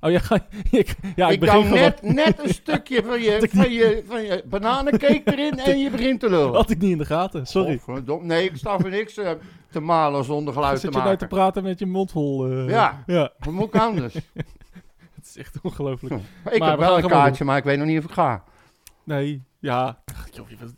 Oh ja, ga- ik, ja, ik, ik begin doe gewoon. net, net een stukje van je, ik van, je, van je bananencake erin en je begint te lullen. Had ik niet in de gaten, Oh, sorry. Godverdomme. Nee, ik sta voor niks eh, te malen zonder geluid te Zit je nou te maken. praten met je mond vol? eh, Ja. ja. Wat moet ik anders? Het is echt ongelooflijk. Ik Maar we heb wel gaan een gewoon kaartje, maar ik weet nog niet of ik ga. Nee, ja. Ach, joh, je bent-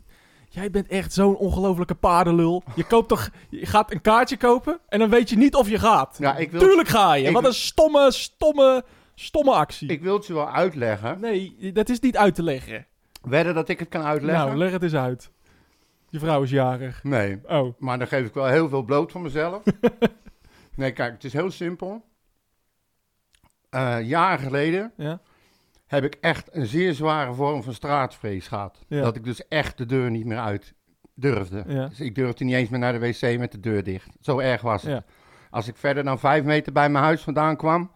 jij bent echt zo'n ongelofelijke paardenlul. Je, koopt toch, je gaat een kaartje kopen en dan weet je niet of je gaat. Ja, ik wil, Tuurlijk ga je. ik- Wat een stomme, stomme, stomme actie. ik wil het je wel uitleggen. Nee, dat is niet uit te leggen. Wedden dat ik het kan uitleggen? Nou, leg het eens uit. Je vrouw is jarig. nee, Oh, maar dan geef ik wel heel veel bloot van mezelf. nee, kijk, het is heel simpel. Eh, jaren geleden ja? heb ik echt een zeer zware vorm van straatvrees gehad. Ja. Dat ik dus echt de deur niet meer uit durfde. Ja. Dus ik durfde niet eens meer naar de wc met de deur dicht. Zo erg was het. Ja. Als ik verder dan vijf meter bij mijn huis vandaan kwam,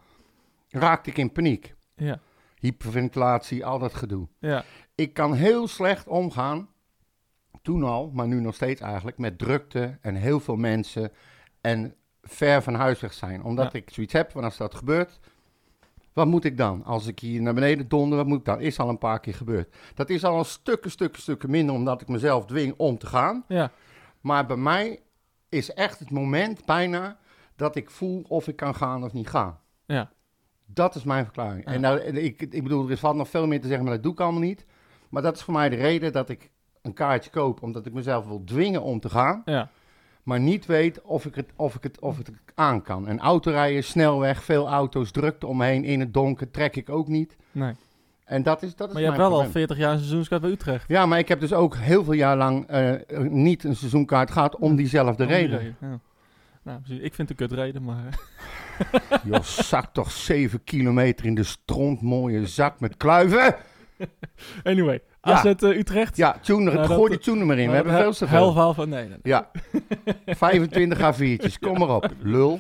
raakte ik in paniek. Ja. Hyperventilatie, al dat gedoe. Ja. Ik kan heel slecht omgaan, toen al, maar nu nog steeds eigenlijk, met drukte en heel veel mensen en ver van huis weg zijn. Omdat Ja. ik zoiets heb, van als dat gebeurt, wat moet ik dan? Als ik hier naar beneden donder, wat moet ik dan? Is al een paar keer gebeurd. Dat is al een stukken, stukken, stukken minder, omdat ik mezelf dwing om te gaan. Ja. Maar bij mij is echt het moment bijna dat ik voel of ik kan gaan of niet gaan. Ja. Dat is mijn verklaring. Ah. En nou, en ik, ik bedoel, er is valt nog veel meer te zeggen, maar dat doe ik allemaal niet. Maar dat is voor mij de reden dat ik een kaartje koop, omdat ik mezelf wil dwingen om te gaan, Ja. maar niet weet of ik het, of ik het, of het aan kan. En autorijden, snelweg, veel auto's, drukte omheen, in het donker, trek ik ook niet. Nee. En dat is, dat is Maar je hebt mijn wel al probleem. 40 jaar een seizoenskaart bij Utrecht. Ja, maar ik heb dus ook heel veel jaar lang eh, niet een seizoenkaart gehad om diezelfde Om die reden. Ja. Nou, precies. ik vind het een kutreden, maar... eh, Joh, zak toch 7 kilometer in de stront, mooie zak met kluiven. Anyway, Ja. AZ eh, Utrecht. Ja, tune er, Nou, dat- gooi die tune er maar in. We Nou, hebben he- veel te Heel veel. veel van... Nee, nee, nee. Ja, 25 A4'tjes, kom maar op. Lul.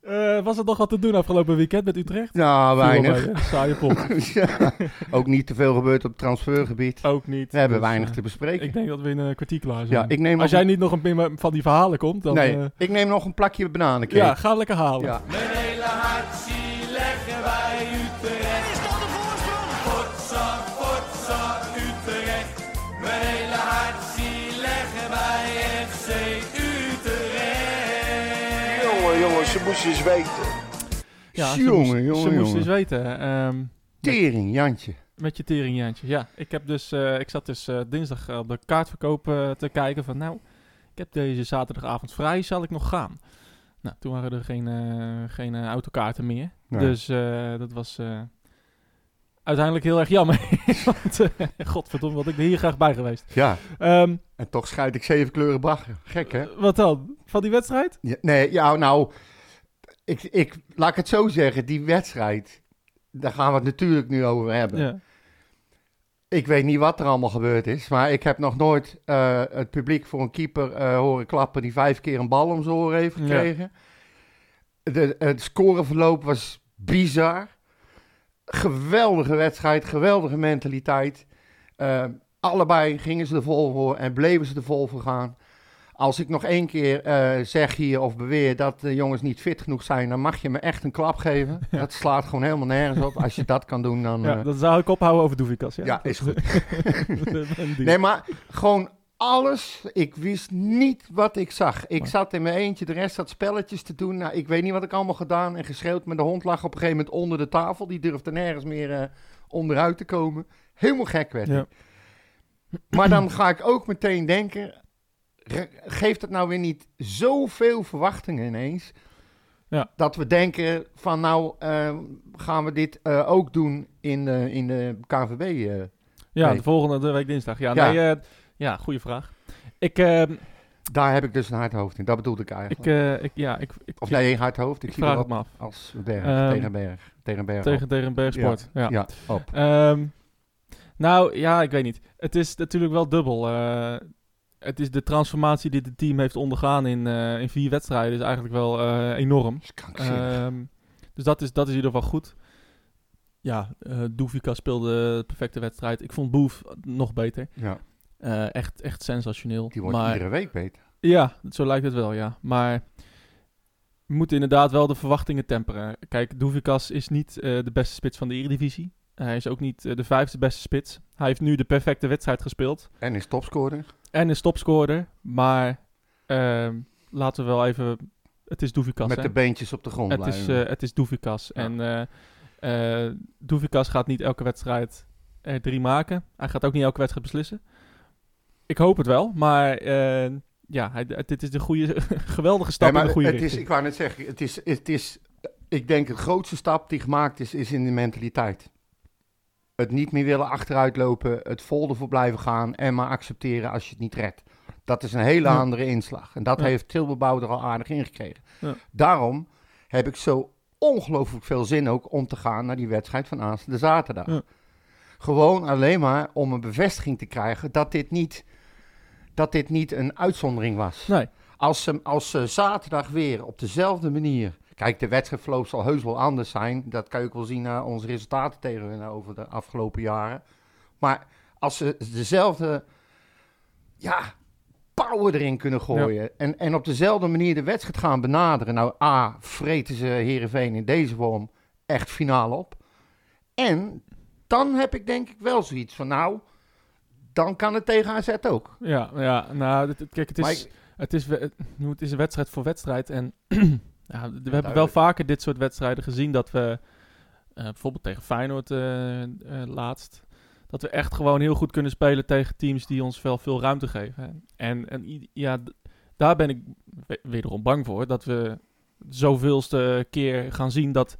Eh, was er nog wat te doen afgelopen weekend met Utrecht? Nou, Viel wel weinig. mee, hè? Saaie pot. Ja, ook niet te veel gebeurd op het transfergebied. Ook niet. We hebben Dus, weinig eh, te bespreken. Ik denk dat we in een kwartier klaar zijn. Ja, ik neem Als nog jij niet nog een pin van die verhalen komt, dan... nee, eh, ik neem nog een plakje bananencake. ja, ga hem lekker halen. Ja. Mijn hele hart zie leggen wij Utrecht. Is dat de voorsprong? Potsa, potsa, Utrecht. Mijn hele hart zie leggen wij FC Utrecht. Jongen, jongen, ze moesten eens weten. Ja, ze Jongen, moest- jongen, Ze moest jongen. eens weten, ehm, Tering, Jantje. met je teringjaantje. Ja, ik, heb dus, eh, ik zat dus eh, dinsdag op de kaartverkoop eh, te kijken van... Nou, ik heb deze zaterdagavond vrij, zal ik nog gaan? Nou, toen waren er geen, eh, geen eh, autokaarten meer. Nee. Dus eh, dat was eh, uiteindelijk heel erg jammer. want, eh, godverdomme, wat ik er hier graag bij geweest. Ja, Ehm, en toch scheid ik zeven kleuren bagger. Gek, hè? wat dan? Van die wedstrijd? Ja, nee, ja, nou, ik, ik, laat ik het zo zeggen. Die wedstrijd, daar gaan we het natuurlijk nu over hebben. Ja. Ik weet niet wat er allemaal gebeurd is, maar ik heb nog nooit eh, het publiek voor een keeper eh, horen klappen die vijf keer een bal om zijn oren heeft gekregen. De, het scoreverloop was bizar. Geweldige wedstrijd, geweldige mentaliteit. Eh, allebei gingen ze er vol voor en bleven ze er vol voor gaan. Als ik nog één keer eh, zeg hier of beweer dat de jongens niet fit genoeg zijn, dan mag je me echt een klap geven. Dat slaat gewoon helemaal nergens op. Als je dat kan doen, dan. Ja, eh, dan zou ik ophouden over Doevikas. Ja, ja, is goed. Nee, nee, maar gewoon alles. Ik wist niet wat ik zag. Ik zat in mijn eentje, de rest zat spelletjes te doen. Nou, ik weet niet wat ik allemaal gedaan en geschreeuwd. Maar de hond lag op een gegeven moment onder de tafel. Die durfde nergens meer eh, onderuit te komen. Helemaal gek werd Ja. ik. Maar dan ga ik ook meteen denken... re- Geeft het nou weer niet zoveel verwachtingen ineens? Ja. Dat we denken van nou eh, gaan we dit eh, ook doen in de, in de KVB. eh. ja nee. de volgende de week dinsdag. Ja, Ja. Nee, eh, ja goede vraag. Ik, eh, Daar heb ik dus een hard hoofd in. Dat bedoelde ik eigenlijk. ik, eh, ik, ja, ik, ik, Of nee, hard hoofd. Ik, ik zie vraag wel het op me af. als berg, Ehm, tegen berg, tegen berg. Tegen, tegen Bergsport. Ja. op. Ja, op. Ehm, nou, ja, ik weet niet. Het is natuurlijk wel dubbel. Eh, het is de transformatie die het team heeft ondergaan in, eh, in vier wedstrijden is eigenlijk wel eh, enorm. Dat is krankzinnig. Ehm, dus dat is, dat is in ieder geval goed. Ja, eh Doefika speelde de perfecte wedstrijd. Ik vond Boef nog beter. ja, Eh, echt, echt sensationeel. die wordt maar, iedere week beter. Ja, zo lijkt het wel, ja. Maar moeten inderdaad wel de verwachtingen temperen. Kijk, Doevikas is niet eh, de beste spits van de Eredivisie. Hij is ook niet eh, de vijfde beste spits. Hij heeft nu de perfecte wedstrijd gespeeld. En is topscorer. En is topscorer. Maar ehm, laten we wel even... Het is Doevikas, met hè? de beentjes op de grond Het is, blijven. eh, het is Doevikas. Ja. En eh eh, Doevikas gaat niet elke wedstrijd er drie maken. Hij gaat ook niet elke wedstrijd beslissen. Ik hoop het wel, maar eh, ja, hij, dit is de goede, geweldige stap Nee, in de maar goede het is, richting. Ik wou net zeggen, het is, het is, ik denk de grootste stap die gemaakt is, is in de mentaliteit. Het niet meer willen achteruitlopen, het vol ervoor blijven gaan en maar accepteren als je het niet redt. Dat is een hele Ja. andere inslag. En dat Ja. heeft Tilberbouw er al aardig in gekregen. Ja. Daarom heb ik zo ongelooflijk veel zin ook om te gaan naar die wedstrijd van aanstaande zaterdag. Ja. Gewoon alleen maar om een bevestiging te krijgen dat dit niet, dat dit niet een uitzondering was. Nee, Als ze, als ze zaterdag weer op dezelfde manier. Kijk, de wedstrijdverloop zal heus wel anders zijn. Dat kan je ook wel zien naar onze resultaten tegen hun over de afgelopen jaren. Maar als ze dezelfde ja, power erin kunnen gooien. En, en op dezelfde manier de wedstrijd gaan benaderen. Nou, A, vreten ze Herenveen in deze vorm echt finaal op. En dan heb ik denk ik wel zoiets van, nou, dan kan het tegen AZ ook. ja, ja nou, dit- dit- kijk, het Maar is, ik- het, is, we- het, het is een wedstrijd voor wedstrijd. En ja, we hebben wel duidelijk. vaker dit soort wedstrijden gezien dat we, eh, bijvoorbeeld tegen Feyenoord eh, eh, laatst, dat we echt gewoon heel goed kunnen spelen tegen teams die ons wel veel ruimte geven. En, en i- ja, d- daar ben ik we- wederom bang voor, dat we zoveelste keer gaan zien dat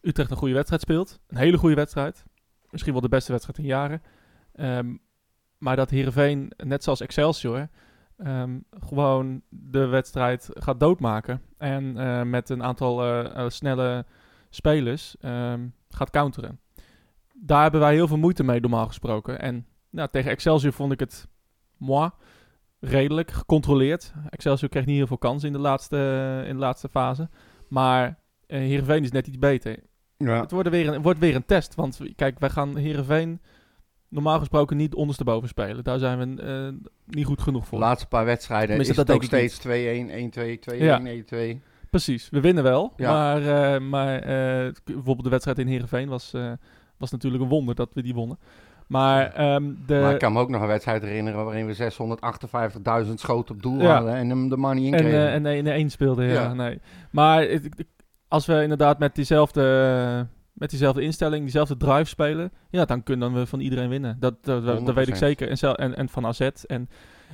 Utrecht een goede wedstrijd speelt. Een hele goede wedstrijd. Misschien wel de beste wedstrijd in jaren. Ehm, maar dat Heerenveen, net zoals Excelsior, ehm, gewoon de wedstrijd gaat doodmaken. En eh, met een aantal eh, eh, snelle spelers ehm, gaat counteren. Daar hebben wij heel veel moeite mee, normaal gesproken. En nou, tegen Excelsior vond ik het moi, redelijk, gecontroleerd. Excelsior kreeg niet heel veel kansen in de laatste, eh, in de laatste fase. Maar eh Heerenveen is net iets beter. Het wordt weer, een, het wordt weer een test. Want kijk, wij gaan Herenveen normaal gesproken niet ondersteboven spelen. Daar zijn we eh, niet goed genoeg De voor. laatste paar wedstrijden is Tenminste, het dat ook denk ik steeds 2-1, 1-2, 2-1, 1-2. Ja. Precies, we winnen wel. Ja. Maar, eh, maar eh, k- bijvoorbeeld de wedstrijd in Herenveen was, eh, was natuurlijk een wonder dat we die wonnen. Maar, ehm, de, maar ik kan me ook nog een wedstrijd herinneren waarin we 658.000 schoten op doel Ja. hadden en hem de money in en, kregen. eh, en één- en één speelde, ja. Ja. Nee. Maar het- het- als we inderdaad met diezelfde, eh, met diezelfde instelling, diezelfde drive spelen, ja, dan kunnen we van iedereen winnen. Dat, dat, dat, dat weet ik 100%. zeker. En, zel- en, en van AZ. En,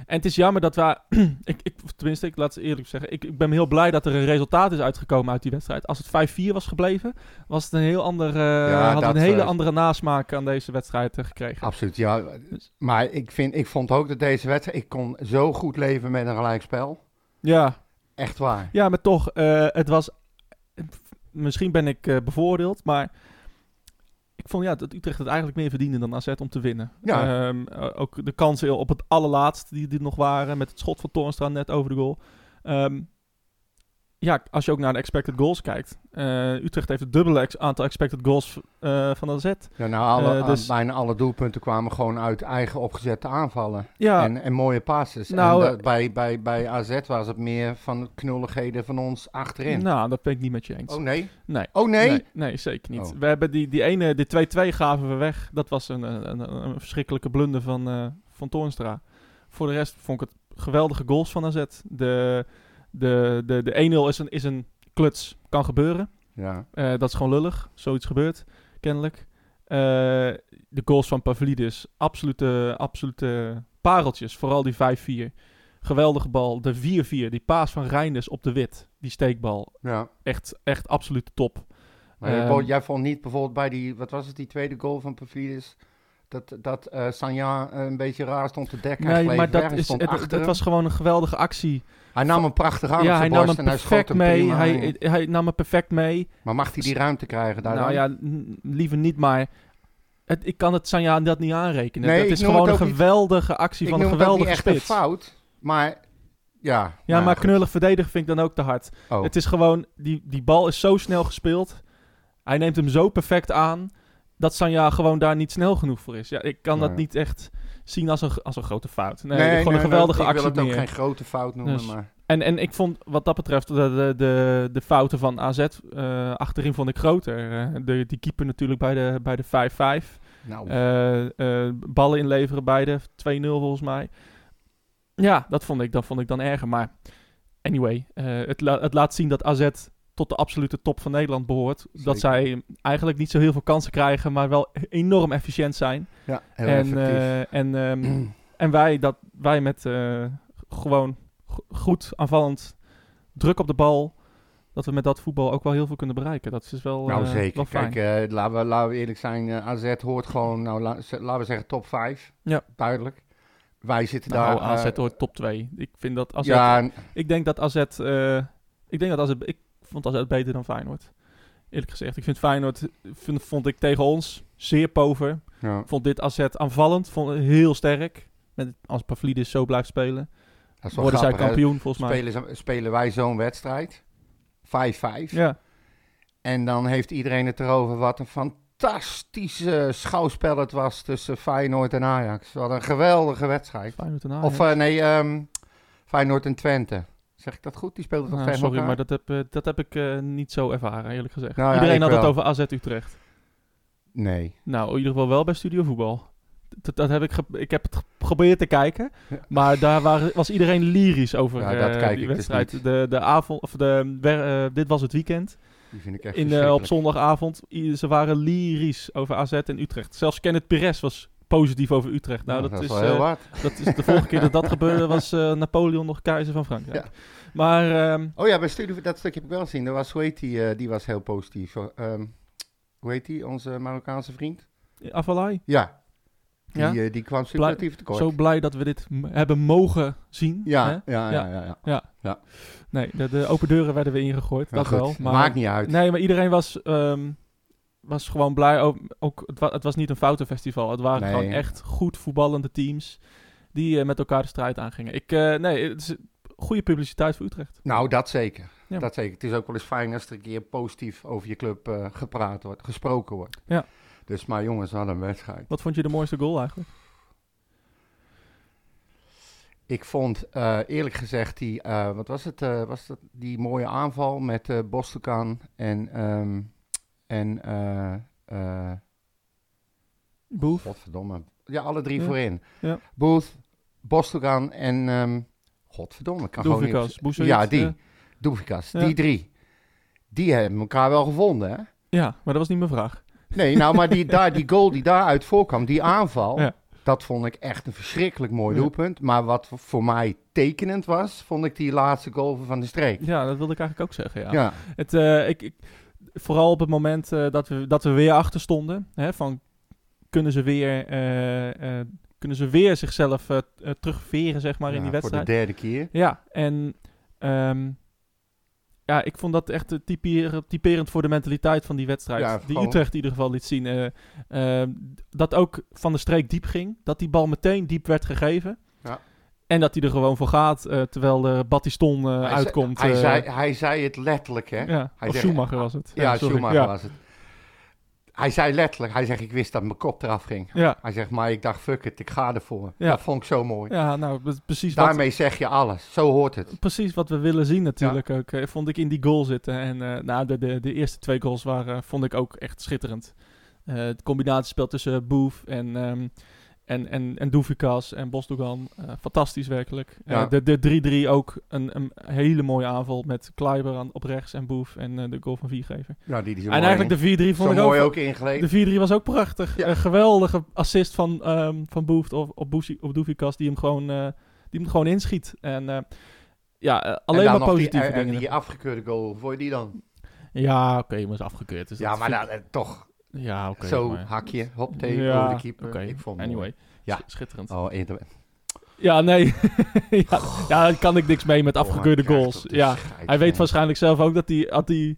en het is jammer dat wij, ik, ik, of tenminste, ik laat het eerlijk zeggen, ik, ik ben heel blij dat er een resultaat is uitgekomen uit die wedstrijd. Als het 5-4 was gebleven, was het een heel ander, eh, Ja, had een dat, hele eh, andere nasmaak aan deze wedstrijd eh, gekregen. Absoluut, ja. Maar ik, vind, ik vond ook dat deze wedstrijd, ik kon zo goed leven met een gelijkspel. Ja, Echt waar. Ja, maar toch, eh, het was. Misschien ben ik eh, bevoordeeld, maar. Ik vond ja, dat Utrecht het eigenlijk meer verdiende dan AZ om te winnen. Ja. Ehm, eh, ook de kansen op het allerlaatst die er nog waren. Met het schot van Toornstra net over de goal. Ehm, ja, als je ook naar de expected goals kijkt. eh, Utrecht heeft het dubbele ex- aantal expected goals eh, van AZ. Ja, nou, alle, Eh, dus- bijna alle doelpunten kwamen gewoon uit eigen opgezette aanvallen. Ja, En, en mooie passes. Nou, en eh, dat- bij, bij, bij AZ was het meer van knulligheden van ons achterin. nou, dat ben ik niet met je eens. oh nee? Nee. Oh nee? Nee, nee, zeker niet. Oh. We hebben die, die ene, de 2-2 gaven we weg. Dat was een, een, een- een verschrikkelijke blunder van, eh van Toornstra. Voor de rest vond ik het geweldige goals van AZ. De, de, de, de 1-0 is een, is een kluts. Kan gebeuren. Ja. Eh, dat is gewoon lullig. Zoiets gebeurt, kennelijk. Eh, de goals van Pavlidis, absolute, absolute pareltjes. Vooral die 5-4. Geweldige bal. De 4-4, die paas van Reinders op de wit. Die steekbal. ja. Echt, echt absolute top. Maar jij Ehm, vond- jij vond niet bijvoorbeeld bij die, wat was het, die tweede goal van Pavlidis, dat, dat eh Sanja een beetje raar stond te dekken. Hij Nee, gleed maar weg dat en is, stond het, achter het hem. was gewoon een geweldige actie. hij nam hem prachtig aan ja, op hij zijn nam borst hem en hij schoot perfect hem mee. nou prima Hij, in. hij nam hem perfect mee. Maar mag hij die ruimte krijgen daar nou dan? ja, n- liever niet, maar het, ik kan het Sanja dat niet aanrekenen. Nee, dat ik is noem gewoon een het ook niet- geweldige actie Ik van noem een het ook niet geweldige echt spits. een fout, maar ja. nou Ja, maar goed. knullig verdedigen vind ik dan ook te hard. Oh. Het is gewoon, die, die bal is zo snel gespeeld. Hij neemt hem zo perfect aan. Dat Sanja gewoon daar niet snel genoeg voor is. Ja, ik kan dat Nee. niet echt zien als een, als een grote fout. Nee, Nee, gewoon Nou nee, een geweldige nee, actie. Ik wil het ook meer. geen grote fout noemen, Dus- maar... En, en ik vond wat dat betreft de, de, de, de fouten van AZ eh, achterin vond ik groter. Eh, de, die keeper natuurlijk bij de, bij de 5-5. Nou, Eh, eh, ballen inleveren bij de 2-0 volgens mij. Ja, dat vond ik, dat vond ik dan erger. Maar anyway, eh, het, la- het laat zien dat AZ tot de absolute top van Nederland behoort. Zeker. Dat zij eigenlijk niet zo heel veel kansen krijgen, maar wel enorm efficiënt zijn. ja, heel En, effectief. eh, en, ehm, en wij, dat, wij met eh, gewoon go- goed aanvallend druk op de bal, dat we met dat voetbal ook wel heel veel kunnen bereiken. Dat is wel, nou, eh, zeker. wel fijn. Kijk, eh, laten, we, laten we eerlijk zijn. eh, AZ hoort gewoon, nou, la- ze- laten we zeggen, top 5. Ja. Duidelijk. Wij zitten nou, daar... AZ eh, hoort top 2. Ik vind dat AZ Ja, en- Ik denk dat AZ... eh, ik denk dat AZ... Ik vond AZ beter dan Feyenoord. Eerlijk gezegd. Ik vind Feyenoord... Vind, vond ik tegen ons zeer pover. ja, Vond dit AZ aanvallend. Vond het heel sterk. Met, als Pavlidis zo blijft spelen. dat is wel Worden zij grappig, hè. kampioen volgens mij. Spelen, ze- spelen wij zo'n wedstrijd. 5-5. Ja. En dan heeft iedereen het erover wat een fantastische schouwspel het was tussen Feyenoord en Ajax. Wat een geweldige wedstrijd. Feyenoord en Ajax. Of eh, nee, ehm, Feyenoord en Twente. Zeg ik dat goed? Die speelden toch Nou, tegen sorry, elkaar? maar dat heb, eh, dat heb ik eh, niet zo ervaren, eerlijk gezegd. Nou ja, Iedereen ik had het wel. over AZ Utrecht. Nee. Nou, in ieder geval wel bij Studio Voetbal. Dat, dat heb ik, ge- ik heb het geprobeerd te kijken, Ja. maar daar waren, was iedereen lyrisch over Ja, dat eh, kijk die ik dus wedstrijd. niet. de, de avond, of de, wer- eh, dit was het weekend, Die vind ik echt in, eh, op verschrikkelijk. zondagavond. I- Ze waren lyrisch over AZ en Utrecht. Zelfs Kenneth Perez was positief over Utrecht. Nou, Ja, dat, is, wel heel eh, wat. dat is de vorige keer dat dat gebeurde, was eh, Napoleon nog keizer van Frankrijk. Ja. Maar ehm, Oh ja, bij Studio, dat stukje heb ik wel gezien. Dat was, hoe heet die? eh, die was heel positief. Zo, ehm, hoe heet die? Onze Marokkaanse vriend? Avalai, Ja. Die, Ja? eh, die kwam superlatief tekort. zo blij dat we dit m- hebben mogen zien. hè? ja, ja, ja, Ja. ja, ja. Nee, de, de open deuren werden we ingegooid, Maar dat Nou goed, wel. Maar, Maakt niet uit. Nee, maar iedereen was, ehm, was gewoon blij. Ook, ook, het, wa- het was niet een foutenfestival. Het waren Nee. gewoon echt goed voetballende teams die eh, met elkaar de strijd aangingen. Ik, eh, nee, het is goede publiciteit voor Utrecht. Nou, dat zeker. Ja. dat zeker. Het is ook wel eens fijn als er een keer positief over je club eh, gepraat wordt, gesproken wordt. Ja. Dus maar jongens, wat een wedstrijd. Wat vond je de mooiste goal eigenlijk? Ik vond eh, eerlijk gezegd die, eh, wat was het, eh, was dat die mooie aanval met eh Bostekan en, ehm, en eh, eh, Boef. godverdomme, ja alle drie Ja. voorin. Ja. Booth, Bostekan en, ehm, godverdomme, ik kan gewoon Doevikas, niet. op- Boezovic, eh, Ja, die, ja. Doevikas, Ja. die drie. Die hebben elkaar wel gevonden, hè? Ja, maar dat was niet mijn vraag. Nee, nou, maar die, daar, die goal die daaruit voorkwam, die aanval, Ja. dat vond ik echt een verschrikkelijk mooi Ja. doelpunt. Maar wat voor mij tekenend was, vond ik die laatste goal van de streek. Ja, dat wilde ik eigenlijk ook zeggen. Ja. Ja, Het, eh, ik, ik, vooral op het moment eh, dat, we, dat we weer achter stonden. Hè, van kunnen ze weer, eh, eh, kunnen ze weer zichzelf eh, eh, terugveren, zeg maar, in Ja, die Voor wedstrijd. de derde keer. Ja, en ehm, ja, ik vond dat echt eh, typeer- typerend voor de mentaliteit van die wedstrijd. Ja, die vooral. Utrecht in ieder geval liet zien. eh, ehm, dat ook van de streek diep ging. Dat die bal meteen diep werd gegeven. Ja. En dat hij er gewoon voor gaat, eh, terwijl de Battiston eh, Hij zei- uitkomt. Hij, eh, zei, hij zei het letterlijk, hè? Ja, ja, Hij of zegt- Schumacher was het. sorry. Schumacher Ja. was het. Hij zei letterlijk, hij zegt, ik wist dat mijn kop eraf ging. Ja, Hij zegt, maar ik dacht, fuck it, ik ga ervoor. Ja. Dat vond ik zo mooi. Dus ja nou, dat is precies, Daarmee zeg je alles, zo hoort het. wat, precies wat we willen zien natuurlijk ook. eh, vond ik in die goal zitten. En eh, nou, de, de, de eerste twee goals waren, eh, vond ik ook echt schitterend. Eh het combinatiespel tussen Boef en, ehm en, en, en Doefikas en Bosdogan. eh, fantastisch werkelijk. Eh, Ja. de de 3-3 ook een, een hele mooie aanval met Kleiber aan, op rechts en Boef en eh, de goal van Viergever. Ja, die, die zo En mooi eigenlijk de 4-3 in- vond ik zo ook... mooi ook ingeleid. De 4-3 was ook prachtig. Ja. Een geweldige assist van, ehm van Boef op, op, Boesie- op Doefikas, die hem gewoon, eh, die hem gewoon inschiet. En eh, ja, eh, alleen en dan maar nog die- positieve en- dingen. En die afgekeurde goal, voor je die dan? Ja, oké, maar is afgekeurd. Dus Ja, dat maar vind dan, eh, toch. ik- Ja, oké. zo maar- hakje, hop tegen Ja, over de keeper. oké, Ik vond het mooi. Anyway, Ja. ja. schitterend. Oh, inter- Ja, nee. ja, ja, daar kan ik niks mee met Oh, afgekeurde hij krijgt goals. op de Ja, schijt, hij weet man. waarschijnlijk zelf ook dat hij, dat hij,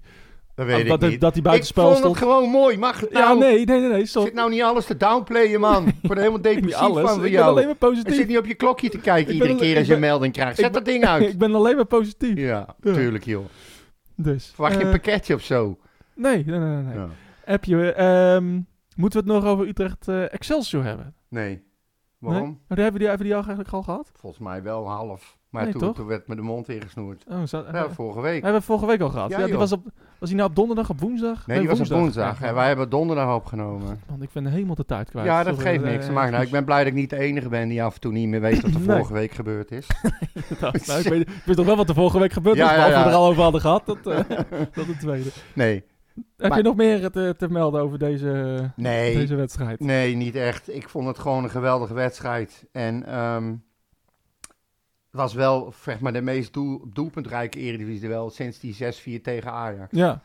Dat weet dat, ik hij, niet. dat hij ik buitenspel vond stond. het gewoon mooi. Mag het Ja, nou? nee, nee, nee, nee. Sorry. Zit nou niet alles te downplayen, man. Ik word er helemaal Niet depressief alles. van voor Ik ben alleen jou. maar Je positief. zit niet op je klokje te kijken Ik ben iedere alleen- keer als ik je een ben- melding krijgt. ik Zet dat ding uit. ik ben alleen maar positief. Ja, Ja. tuurlijk joh. Dus, Verwacht je eh, een pakketje of zo? Nee, nee, nee, nee. nee. Ja. Heb je, ehm, moeten we het nog over Utrecht eh, Excelsior hebben? Nee. Waarom? Nee? Oh, die hebben, we die, hebben we die al eigenlijk al gehad? Volgens mij wel half. Maar Nee, toen, toch? toen werd me de mond ingesnoerd. Oh, zou- Ja, vorige We week. hebben we vorige week al gehad. Ja, Ja, die joh. was, op, was die nou op donderdag, op woensdag? Nee, die was op woensdag. Ja. En wij hebben donderdag opgenomen. Man, ik ben helemaal de tijd kwijt. Ja, dat Sorry, geeft eh, niks. Maar nou, ik ben blij dat ik niet de enige ben die af en toe niet meer weet wat er Nee. vorige week gebeurd is. nou, ik, weet, ik weet toch wel wat er vorige week gebeurd is, Ja, ja, behalve ja. we er al over hadden gehad. Dat, eh dat het tweede. Nee, Heb Maar- je nog meer te, te melden over deze, nee, deze wedstrijd? nee, niet echt. Ik vond het gewoon een geweldige wedstrijd. En ehm, het was wel zeg maar, de meest doel, doelpuntrijke Eredivisie wel sinds die 6-4 tegen Ajax. Ja,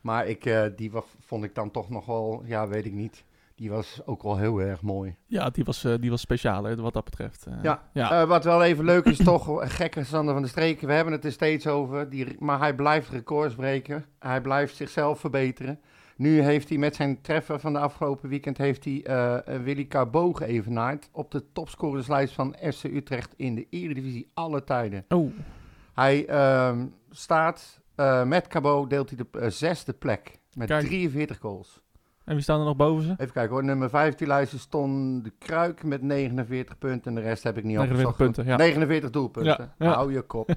Maar ik, eh, die wa- vond ik dan toch nog wel, ja, weet ik niet. Die was ook wel heel erg mooi. ja die, was, eh, die was speciaal hè, wat dat betreft. Eh, Ja. ja. Eh, wat wel even leuk is, toch, eh, gekke Sander van de Streken. We hebben het er steeds over. Die, maar hij blijft records breken. Hij blijft zichzelf verbeteren. Nu heeft hij met zijn treffer van de afgelopen weekend heeft hij, eh, eh, Willy Carbo geëvenaard op de topscorerslijst van FC Utrecht in de Eredivisie alle tijden. Oh, Hij ehm, staat, eh, met Carbo deelt hij de eh, zesde plek met Kijk. 43 goals. en wie staan er nog boven ze? Even kijken hoor, nummer 5 die lijst is Ton de Kruik met 49 punten. En de rest heb ik niet 49 opgezocht. want- punten, ja. 49 doelpunten. Ja, ja. Hou je kop.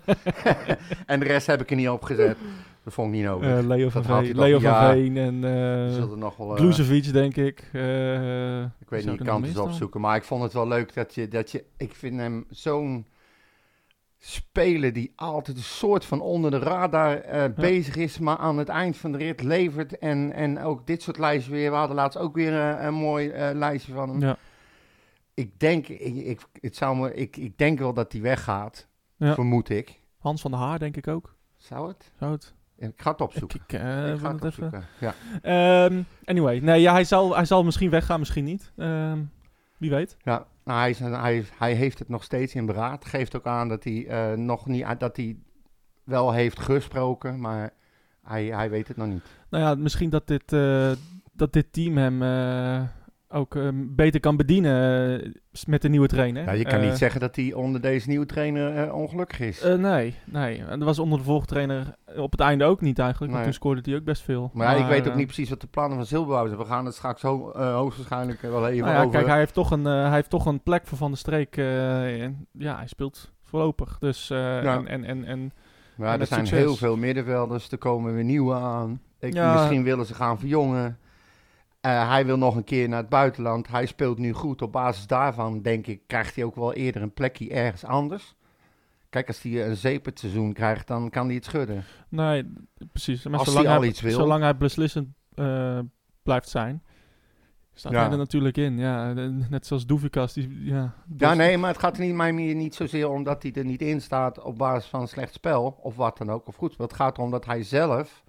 en de rest heb ik er niet opgezet. Dat vond ik niet nodig. Eh, Leo van Dat haalt hij Veen, toch- Leo van ja. Veen en Er eh zullen nog wel, eh, Bluesevic, denk ik. Eh, ik weet zou niet, ik er kan nog het eens meer staan? opzoeken. Maar ik vond het wel leuk dat je, dat je ik vind hem zo'n speler die altijd een soort van onder de radar eh, bezig is, maar aan het eind van de rit levert. En, en ook dit soort lijsten weer. We hadden laatst ook weer eh, een mooi eh, lijstje van hem. Ja. Ik denk, ik, ik, het zou me, ik, ik denk wel dat hij weggaat. Ja. Vermoed ik. Hans van der Haar, denk ik ook. Zou het? Zou het? Ik ga het Ik, opzoeken. ik, eh, ik wil ga het het even. opzoeken. Ja. Ehm, anyway, nee, ja, hij, zal, hij zal misschien weggaan, misschien niet. Ehm, wie weet. Ja, nou, hij, is een- hij, is- hij heeft het nog steeds in beraad. Geeft ook aan dat hij eh, nog niet uit- dat hij wel heeft gesproken, maar hij, hij weet het nog niet. Nou ja, misschien dat dit, eh, dat dit team hem eh, ook eh, beter kan bedienen eh, s- met de nieuwe trainer. Ja, je kan Eh, niet zeggen dat hij onder deze nieuwe trainer eh, ongelukkig is. eh, nee, nee. En dat was onder de vorige trainer op het einde ook niet eigenlijk. Want Nee. toen scoorde hij ook best veel. maar ja, ik weet ook eh, niet precies wat de plannen van Silberbouw zijn. We gaan het straks ho- eh, hoogstwaarschijnlijk wel even Nou ja, over. kijk, hij heeft, toch een, eh, hij heeft toch een plek voor Van der Streek. eh, en, ja, hij speelt voorlopig. Dus, eh, Ja. en, en, en, en maar en er het zijn succes. heel veel middenvelders, er komen weer nieuwe aan. Ik, Ja. Misschien willen ze gaan verjongen. Eh, hij wil nog een keer naar het buitenland. Hij speelt nu goed. Op basis daarvan, denk ik, krijgt hij ook wel eerder een plekje ergens anders. Kijk, als hij een zeepert seizoen krijgt, dan kan hij het schudden. Nee, precies. Maar Als zolang hij al hij, iets wil. Zolang hij beslissend eh, blijft zijn, staat Ja. hij er natuurlijk in. Ja, en net zoals Doevikas. Die, ja, Ja, dus- nee, maar het gaat er niet, mij meer niet zozeer om dat hij er niet in staat op basis van slecht spel of wat dan ook. Of goed, spel. het gaat erom dat hij zelf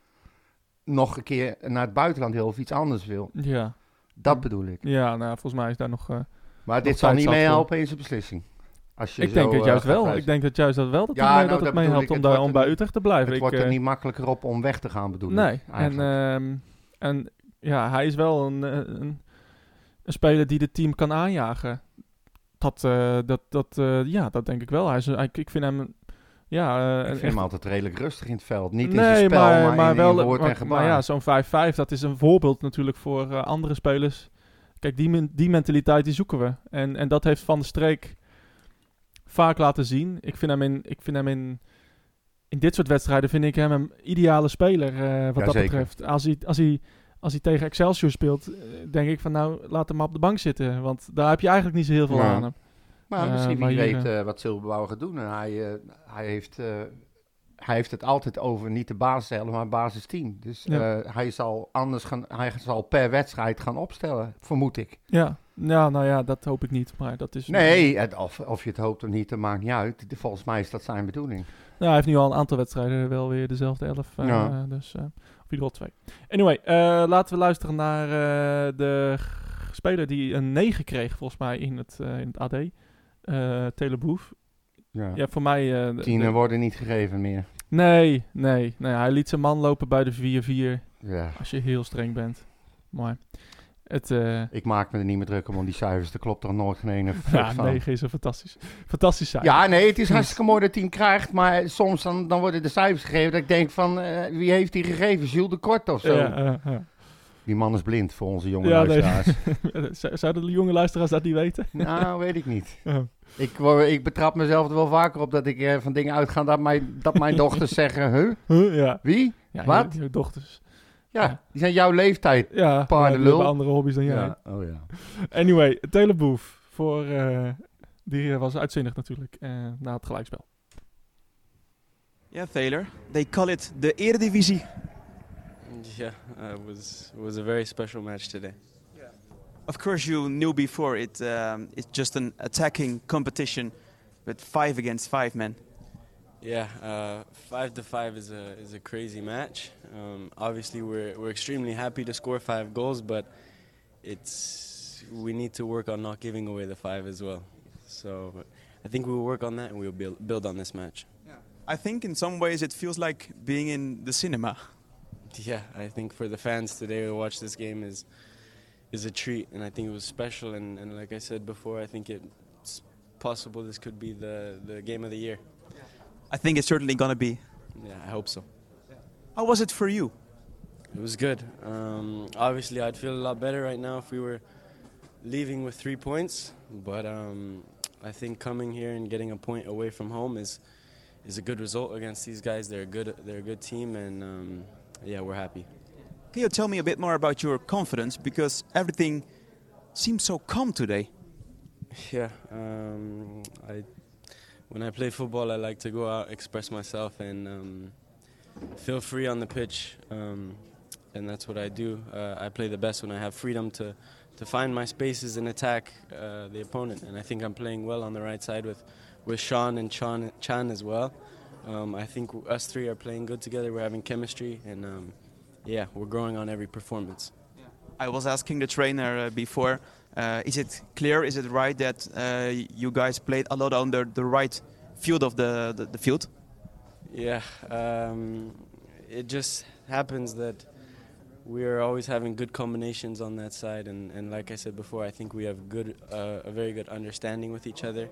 nog een keer naar het buitenland wil of iets anders wil. Ja, Dat bedoel ik. ja nou, volgens mij is daar nog... eh, Maar dit Nog zal tijd niet zat meehelpen in zijn beslissing. Als je ik zo, denk het eh, juist gaat wel. reizen. Ik denk dat juist dat wel dat, Ja, het, mee- dat nou, dat het bedoel meehelpt ik. om, Het daar, om wordt bij een- Utrecht te blijven. Het Ik, wordt eh, er niet makkelijker op om weg te gaan, bedoel ik. Nee, en, eigenlijk. ehm, en ja, hij is wel een, eh, een, een speler die het team kan aanjagen. Dat, eh, dat, dat, eh, ja, dat denk ik wel. Hij is, een- ik, ik vind hem... Ja, eh, ik een vind echt- hem altijd redelijk rustig in het veld. Niet in nee, zijn spel, maar, in, in woord maar- en gebaar. maar ja, zo'n 5-5, dat is een voorbeeld natuurlijk voor eh, andere spelers. Kijk, die, men- die mentaliteit die zoeken we. En, en dat heeft Van der Streek vaak laten zien. Ik vind hem in, ik vind hem in, in dit soort wedstrijden vind ik hem een ideale speler eh, wat dat Jazeker. betreft. Als hij, als, hij, als hij tegen Excelsior speelt, eh, denk ik van nou, laat hem maar op de bank zitten. Want daar heb je eigenlijk niet zo heel veel Ja. aan hem. Maar Eh, misschien maar wie hier, weet eh, wat Silberbouwer gaat doen. En hij, eh, hij, heeft, eh, hij heeft het altijd over niet de basiself, maar basisteam. Dus Ja. eh, hij, zal anders gaan, hij zal per wedstrijd gaan opstellen, vermoed ik. Ja. ja, nou ja, dat hoop ik niet. Maar dat is... Nee, het, of, of je het hoopt of niet, dat maakt niet uit. De- Volgens mij is dat zijn bedoeling. Nou, hij heeft nu al een aantal wedstrijden wel weer dezelfde elf. eh, Ja. Dus, eh, of in ieder geval twee. Anyway, eh, laten we luisteren naar eh, de g- speler die een 9 kreeg, volgens mij, in het, eh, in het AD. eh Teleboef. Ja. Ja, voor mij... eh, de- Tienen de- worden niet gegeven meer. nee, nee, nee. Hij liet zijn man lopen bij de 4-4, Ja. als je heel streng bent. Maar het... eh, Ik maak me er niet meer druk om, om die cijfers. Er klopt toch nooit geen ene fuck ja, van. 9 is een fantastisch, fantastisch cijfer. Ja, nee, het is hartstikke mooi dat hij hem krijgt. Maar soms dan, dan worden de cijfers gegeven dat ik denk van... eh, wie heeft die gegeven? Jules de Kort of zo? Ja, eh, ja. Die man is blind voor onze jonge Ja, nee. luisteraars. Z- Zouden de jonge luisteraars dat niet weten? Nou, weet ik niet. Oh. Ik, word- ik betrap mezelf er wel vaker op dat ik eh, van dingen uitga dat mijn, dat mijn dochters zeggen, huh, Huh? Ja. wie? ja Wat? Je, je dochters. Ja, die zijn jouw leeftijd. Ja, maar die Paardenlul. hebben andere hobby's dan jij. oh ja. Anyway, Teleboef. Voor, eh, die eh, was uitzinnig natuurlijk eh, na het gelijkspel. Yeah, Thaler. They call it the Eredivisie. Yeah, uh, it was it was a very special match today. Of course, you knew before it. Um, it's just an attacking competition with five against five men. Yeah, uh, five to five is a is a crazy match. Um, obviously, we're we're extremely happy to score five goals, but it's we need to work on not giving away the five as well. So I think we will work on that and we will build build on this match. I think in some ways it feels like being in the cinema. Yeah, I think for the fans today to watch this game is is a treat, and I think it was special. And, and like I said before, I think it's possible this could be the the game of the year. I think it's certainly gonna be. Yeah, I hope so. How was it for you? It was good. Um, obviously, I'd feel a lot better right now if we were leaving with three points. But um, I think coming here and getting a point away from home is is a good result against these guys. They're a good. They're a good team, and um, yeah, we're happy. Can you tell me a bit more about your confidence? Because everything seems so calm today. Yeah. Um, I when I play football, I like to go out, express myself, and um, feel free on the pitch. Um, and that's what I do. Uh, I play the best when I have freedom to to find my spaces and attack uh, the opponent. And I think I'm playing well on the right side with with Sean and Chan, Chan as well. Um, I think us three are playing good together. We're having chemistry, and um, yeah, we're growing on every performance. I was asking the trainer uh, before. Uh, is it clear? Is it right that uh, you guys played a lot under the right field of the, the, the field? Yeah, um, it just happens that we are always having good combinations on that side, and, and like I said before, I think we have good, uh, a very good understanding with each other,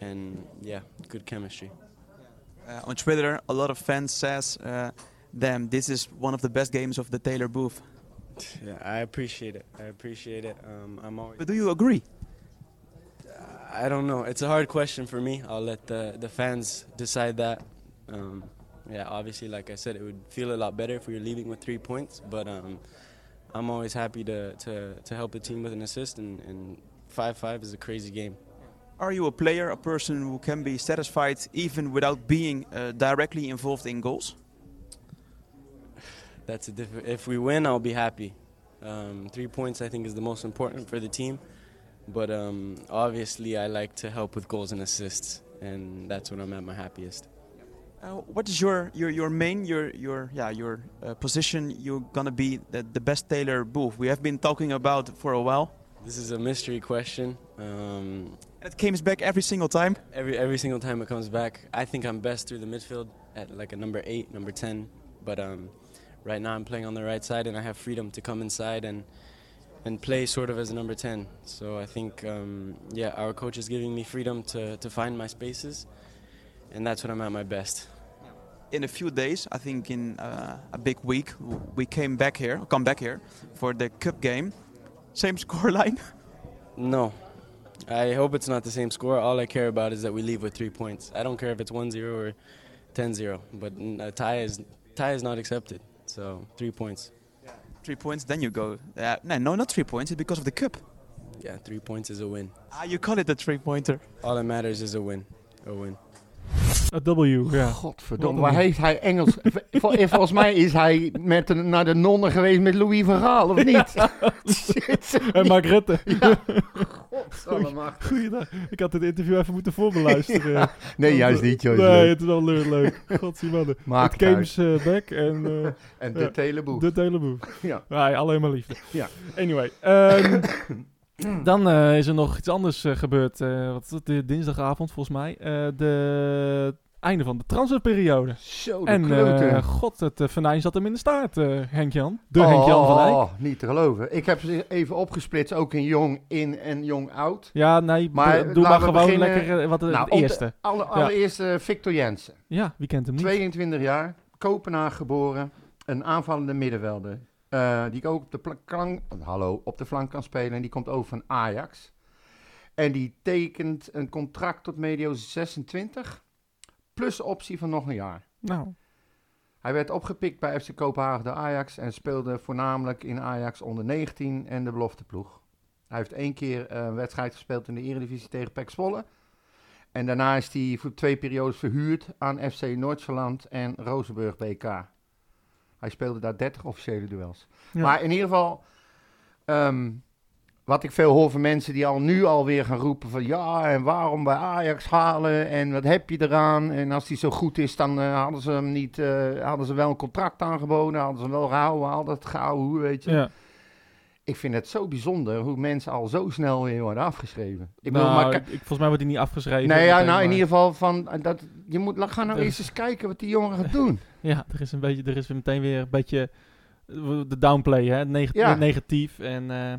and yeah, good chemistry. Uh, on Twitter, a lot of fans says, uh, "Damn, this is one of the best games of the Taylor Booth." Yeah, I appreciate it. I appreciate it. Um, I'm always. But do you agree? I don't know. It's a hard question for me. I'll let the the fans decide that. Um, yeah, obviously, like I said, it would feel a lot better if we were leaving with three points. But um, I'm always happy to, to, to help the team with an assist, and, and five five is a crazy game. Are you a player, a person who can be satisfied even without being uh, directly involved in goals? That's a diff- If we win, I'll be happy. Um, three points, I think, is the most important for the team. But um, obviously, I like to help with goals and assists, and that's when I'm at my happiest. Uh, what is your, your, your main your your yeah your uh, position? You're gonna be the, the best Taylor Booth. We have been talking about for a while. This is a mystery question. Um, And it comes back every single time. Every every single time it comes back, I think I'm best through the midfield at like a number eight, number ten. But um, right now I'm playing on the right side, and I have freedom to come inside and and play sort of as a number ten. So I think um, yeah, our coach is giving me freedom to to find my spaces, and that's when I'm at my best. in a few days, I think in uh, a big week, w- we came back here, come back here for the cup game. Same scoreline. No. I hope it's not the same score. All I care about is that we leave with three points. I don't care if it's 1 0 or 10 0, but mm, a tie is, tie is not accepted. So, three points. three points, then you go. Uh, no, no, not three points. It's because of the cup. Yeah, three points is a win. Ah, you call it a three-pointer. All that matters is a win. A win. A Eh, W, Oh, ja. Godverdomme, Wat een- waar heeft hij Engels... Vol- Volgens mij is hij met een, naar de nonnen geweest met Louis van Gaal, of niet? En Margrethe. Godverdomme. Goeiedag. Ik had dit interview even moeten voorbeluisteren. Nee, Want, juist eh, niet, juist Nee, niet. het is wel leuk. leuk. Godziemanne. Maakt Het Games eh back en eh En Ja. dit heleboel. dit hele boef. Ja. Nee, alleen maar liefde. Ja. Anyway. ehm, dan eh, is er nog iets anders eh, gebeurd. eh, wat is het? eh, Dinsdagavond volgens mij. Eh de einde van de transferperiode. Zo, de En kleuter. eh, god, het eh, venijn zat hem in de staart, eh Henk-Jan. De Oh, Henk-Jan van Eyck. oh, niet te geloven. Ik heb ze even opgesplitst, ook in jong in en jong oud. Ja, nee, Maar, maar, doe maar laten we gewoon beginnen- lekker eh, wat, eh, Nou, het om te- eerste. Alle, allereerst eh, Victor Jensen, Ja, wie kent hem niet? 22 jaar, Kopenhagen geboren, een aanvallende middenvelder. eh, die ik ook op de, pla- klank- hallo, op de flank kan spelen. En die komt over van Ajax. En die tekent een contract tot medio 26. Plus optie van nog een jaar. Nou, Hij werd opgepikt bij FC Kopenhagen door Ajax en speelde voornamelijk in Ajax onder 19 en de belofteploeg. Hij heeft één keer eh, een wedstrijd gespeeld in de Eredivisie tegen PEC Zwolle. En daarna is hij voor twee periodes verhuurd aan FC Noordzeeland en Rozenburg BK. Hij speelde daar 30 officiële duels. Ja. Maar in ieder geval, ehm, wat ik veel hoor van mensen die al nu alweer gaan roepen van ja, en waarom bij Ajax halen en wat heb je eraan? En als die zo goed is, dan eh, hadden ze hem niet, eh, hadden ze wel een contract aangeboden, hadden ze hem wel gehouden, al dat gehouden, weet je. ja. Ik vind het zo bijzonder hoe mensen al zo snel weer worden afgeschreven. Ik nou, bedoel, maar ik, ik- volgens mij wordt die niet afgeschreven. Nee, ja, meteen, nou in maar- ieder geval van eh, dat je moet la- ga nou Er- eerst eens kijken wat die jongen gaat doen. Ja, er is, een beetje, er is weer meteen weer een beetje eh, de downplay, hè? Neg- Ja. negatief. En, eh,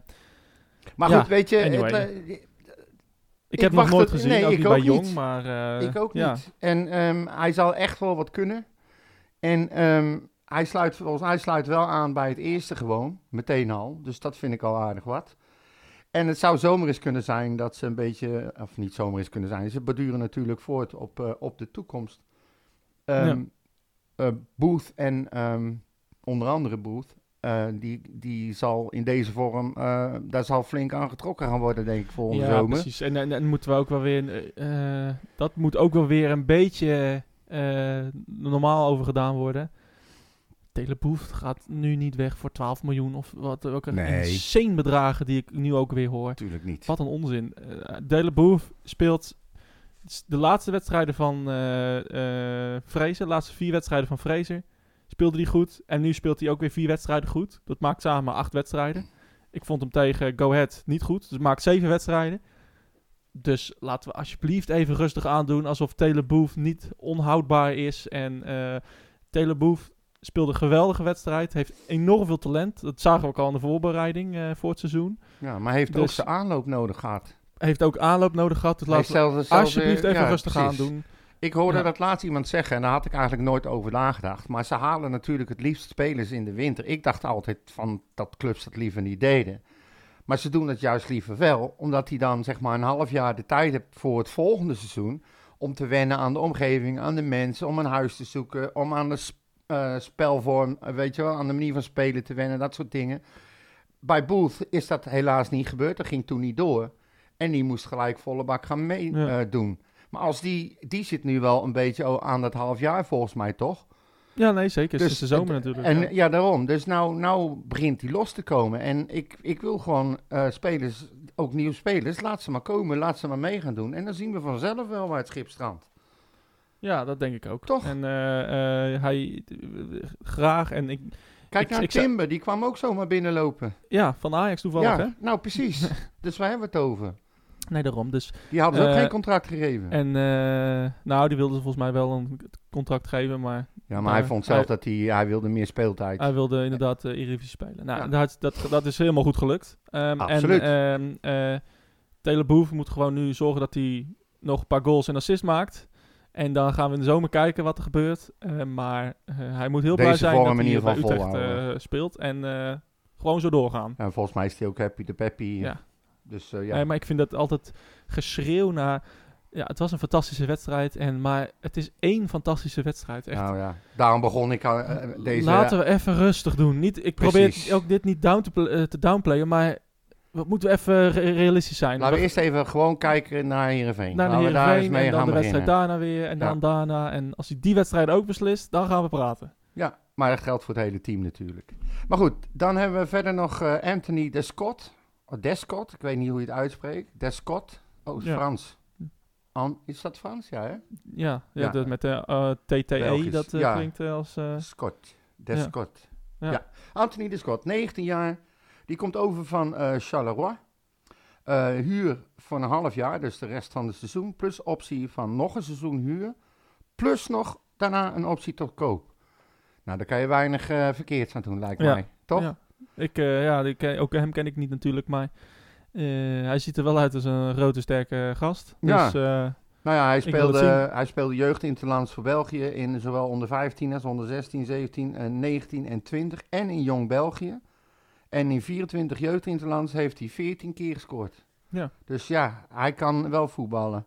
Maar Ja, goed, weet je, het, anyway. eh, ik Ik heb nog wacht nooit het- gezien, nee, ook ik niet ook bij Jong, niet. maar... eh, ik ook ja. niet. En ehm, hij zal echt wel wat kunnen. En ehm, hij sluit volgens mij sluit wel aan bij het eerste gewoon, meteen al. Dus dat vind ik al aardig wat. En het zou zomaar eens kunnen zijn dat ze een beetje, of niet zomaar eens kunnen zijn, ze beduren natuurlijk voort op, eh, op de toekomst. Ehm, eh, Booth en ehm, onder andere Booth, eh, die, die zal in deze vorm, eh, daar zal flink aan getrokken gaan worden, denk ik, volgende Ja, zomer. precies. En, en, en moeten we ook wel weer... eh, eh, dat moet ook wel weer een beetje eh, normaal over gedaan worden. Teleboef gaat nu niet weg voor 12 miljoen of wat ook. Een Nee. insane bedragen die ik nu ook weer hoor. Natuurlijk niet. Wat een onzin. Eh Deleboef speelt s- de laatste wedstrijden van eh eh Fraser, de laatste vier wedstrijden van Fraser, speelde hij goed. En nu speelt hij ook weer vier wedstrijden goed. Dat maakt samen acht wedstrijden. Ik vond hem tegen Go Ahead niet goed, dus maakt zeven wedstrijden. Dus laten we alsjeblieft even rustig aandoen, alsof Teleboef niet onhoudbaar is. En eh Teleboef speelde een geweldige wedstrijd, heeft enorm veel talent. Dat zagen we ook al in de voorbereiding eh, voor het seizoen. Ja, maar hij heeft ook Dus- zijn aanloop nodig gehad. Heeft ook aanloop nodig gehad, dus Hij laten we stelde zelf Alsjeblieft weer- even ja, rustig aan precies. doen. Ik hoorde Ja. dat laatst iemand zeggen, en daar had ik eigenlijk nooit over nagedacht. Maar ze halen natuurlijk het liefst spelers in de winter. Ik dacht altijd van dat clubs dat liever niet deden. Maar ze doen het juist liever wel, omdat hij dan zeg maar een half jaar de tijd hebt voor het volgende seizoen. Om te wennen aan de omgeving, aan de mensen, om een huis te zoeken, om aan de sp- eh, spelvorm, eh, weet je wel, aan de manier van spelen te wennen, dat soort dingen. Bij Booth is dat helaas niet gebeurd, dat ging toen niet door. En die moest gelijk volle bak gaan meedoen. Ja. Maar als die, die zit nu wel een beetje o- aan dat half jaar volgens mij toch? Ja, nee, zeker. Dus Sinds de zomer het- natuurlijk. En ja. ja, daarom. Dus nou, nou begint die los te komen. En ik, ik wil gewoon eh, spelers, ook nieuwe spelers, laat ze maar komen, laat ze maar mee gaan doen. En dan zien we vanzelf wel waar het schip strandt. Ja, dat denk ik ook. Toch? En eh, eh, hij eh, graag en ik, Kijk Ik- naar ik zou- Timber, die kwam ook zomaar binnenlopen. ja, van Ajax toevallig, ja, hè? nou precies. dus waar hebben we het over? Nee, daarom. Dus, Die hadden ze ook Eh, geen contract gegeven. en eh, nou, die wilden ze volgens mij wel een contract geven, maar ja, maar hij eh, vond zelf hij- dat hij, hij wilde meer speeltijd. hij wilde inderdaad eh Eredivisie spelen. Nou, Ja. dat, dat, dat is helemaal goed gelukt. Ehm, Absoluut. En ehm eh, Teleboef moet gewoon nu zorgen dat hij nog een paar goals en assist maakt. En dan gaan we in de zomer kijken wat er gebeurt. Eh, maar eh, hij moet heel Deze blij zijn vorm dat in hij hier ieder bij geval Utrecht volhouden. eh, speelt. En eh, gewoon zo doorgaan. En volgens mij is hij ook happy de peppy. Ja. Dus eh, ja. Nee, maar ik vind dat altijd geschreeuw naar... Ja, het was een fantastische wedstrijd. En, maar het is één fantastische wedstrijd. Echt. Nou ja, daarom begon ik aan eh, deze... Laten we even rustig doen. Niet, ik probeer Precies. ook dit niet down te, pl- eh, te downplayen, maar we moeten even re- realistisch zijn. Laten we We- eerst even gewoon kijken naar Heerenveen. naar de Laten we daar eens Heerenveen mee en dan gaan de wedstrijd beginnen. daarna weer en Ja. dan daarna. En als hij die wedstrijd ook beslist, dan gaan we praten. Ja, maar dat geldt voor het hele team natuurlijk. Maar goed, dan hebben we verder nog eh, Anthony Descott. Oh, Descott, ik weet niet hoe je het uitspreekt. Descott, oh, is Ja. Frans. An- is dat Frans? Ja, hè? Ja, ja, Ja. Dat met de eh, TTE, Belgisch, dat eh, ja. klinkt eh, als... eh, Scott. Descott. Ja. Ja. Anthony Descott, 19 jaar. Die komt over van eh, Charleroi. Eh, huur van een half jaar, dus de rest van het seizoen. Plus optie van nog een seizoen huur. Plus nog daarna een optie tot koop. Nou, daar kan je weinig eh verkeerd aan doen, lijkt Ja. mij. Toch? Ja. Ik, eh, ja, die ken- ook hem ken ik niet natuurlijk, maar eh, hij ziet er wel uit als een grote, sterke gast. Ja. Dus eh, Nou ja, hij Ik wil het speelde, hij speelde jeugdinterlands voor België in zowel onder 15 als onder 16, 17, en 19 eh, en 20 en in Jong België. En in 24 jeugdinterlands heeft hij 14 keer gescoord. Ja. Dus ja, hij kan wel voetballen.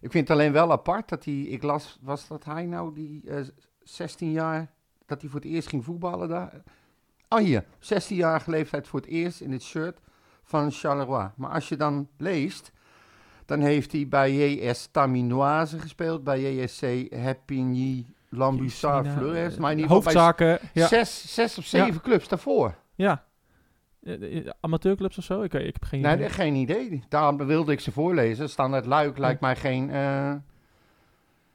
Ik vind het alleen wel apart dat hij, ik las, was dat hij nou die eh, 16 jaar, dat hij voor het eerst ging voetballen daar? Oh hier, 16-jarige leeftijd voor het eerst in het shirt van Charleroi. Maar als je dan leest, dan heeft hij bij JS Taminoise gespeeld, bij JSC Happigny Lambussard Jezus, Fleurs. eh, Maar in ieder geval bij Hoofdzaken. Ja. zes, zes of zeven clubs daarvoor. ja. Eh, eh, Amateurclubs of zo? Ik, ik heb geen Nee, idee. dat- geen idee. Daarom wilde ik ze voorlezen. Standaard Luik lijkt mij geen... eh,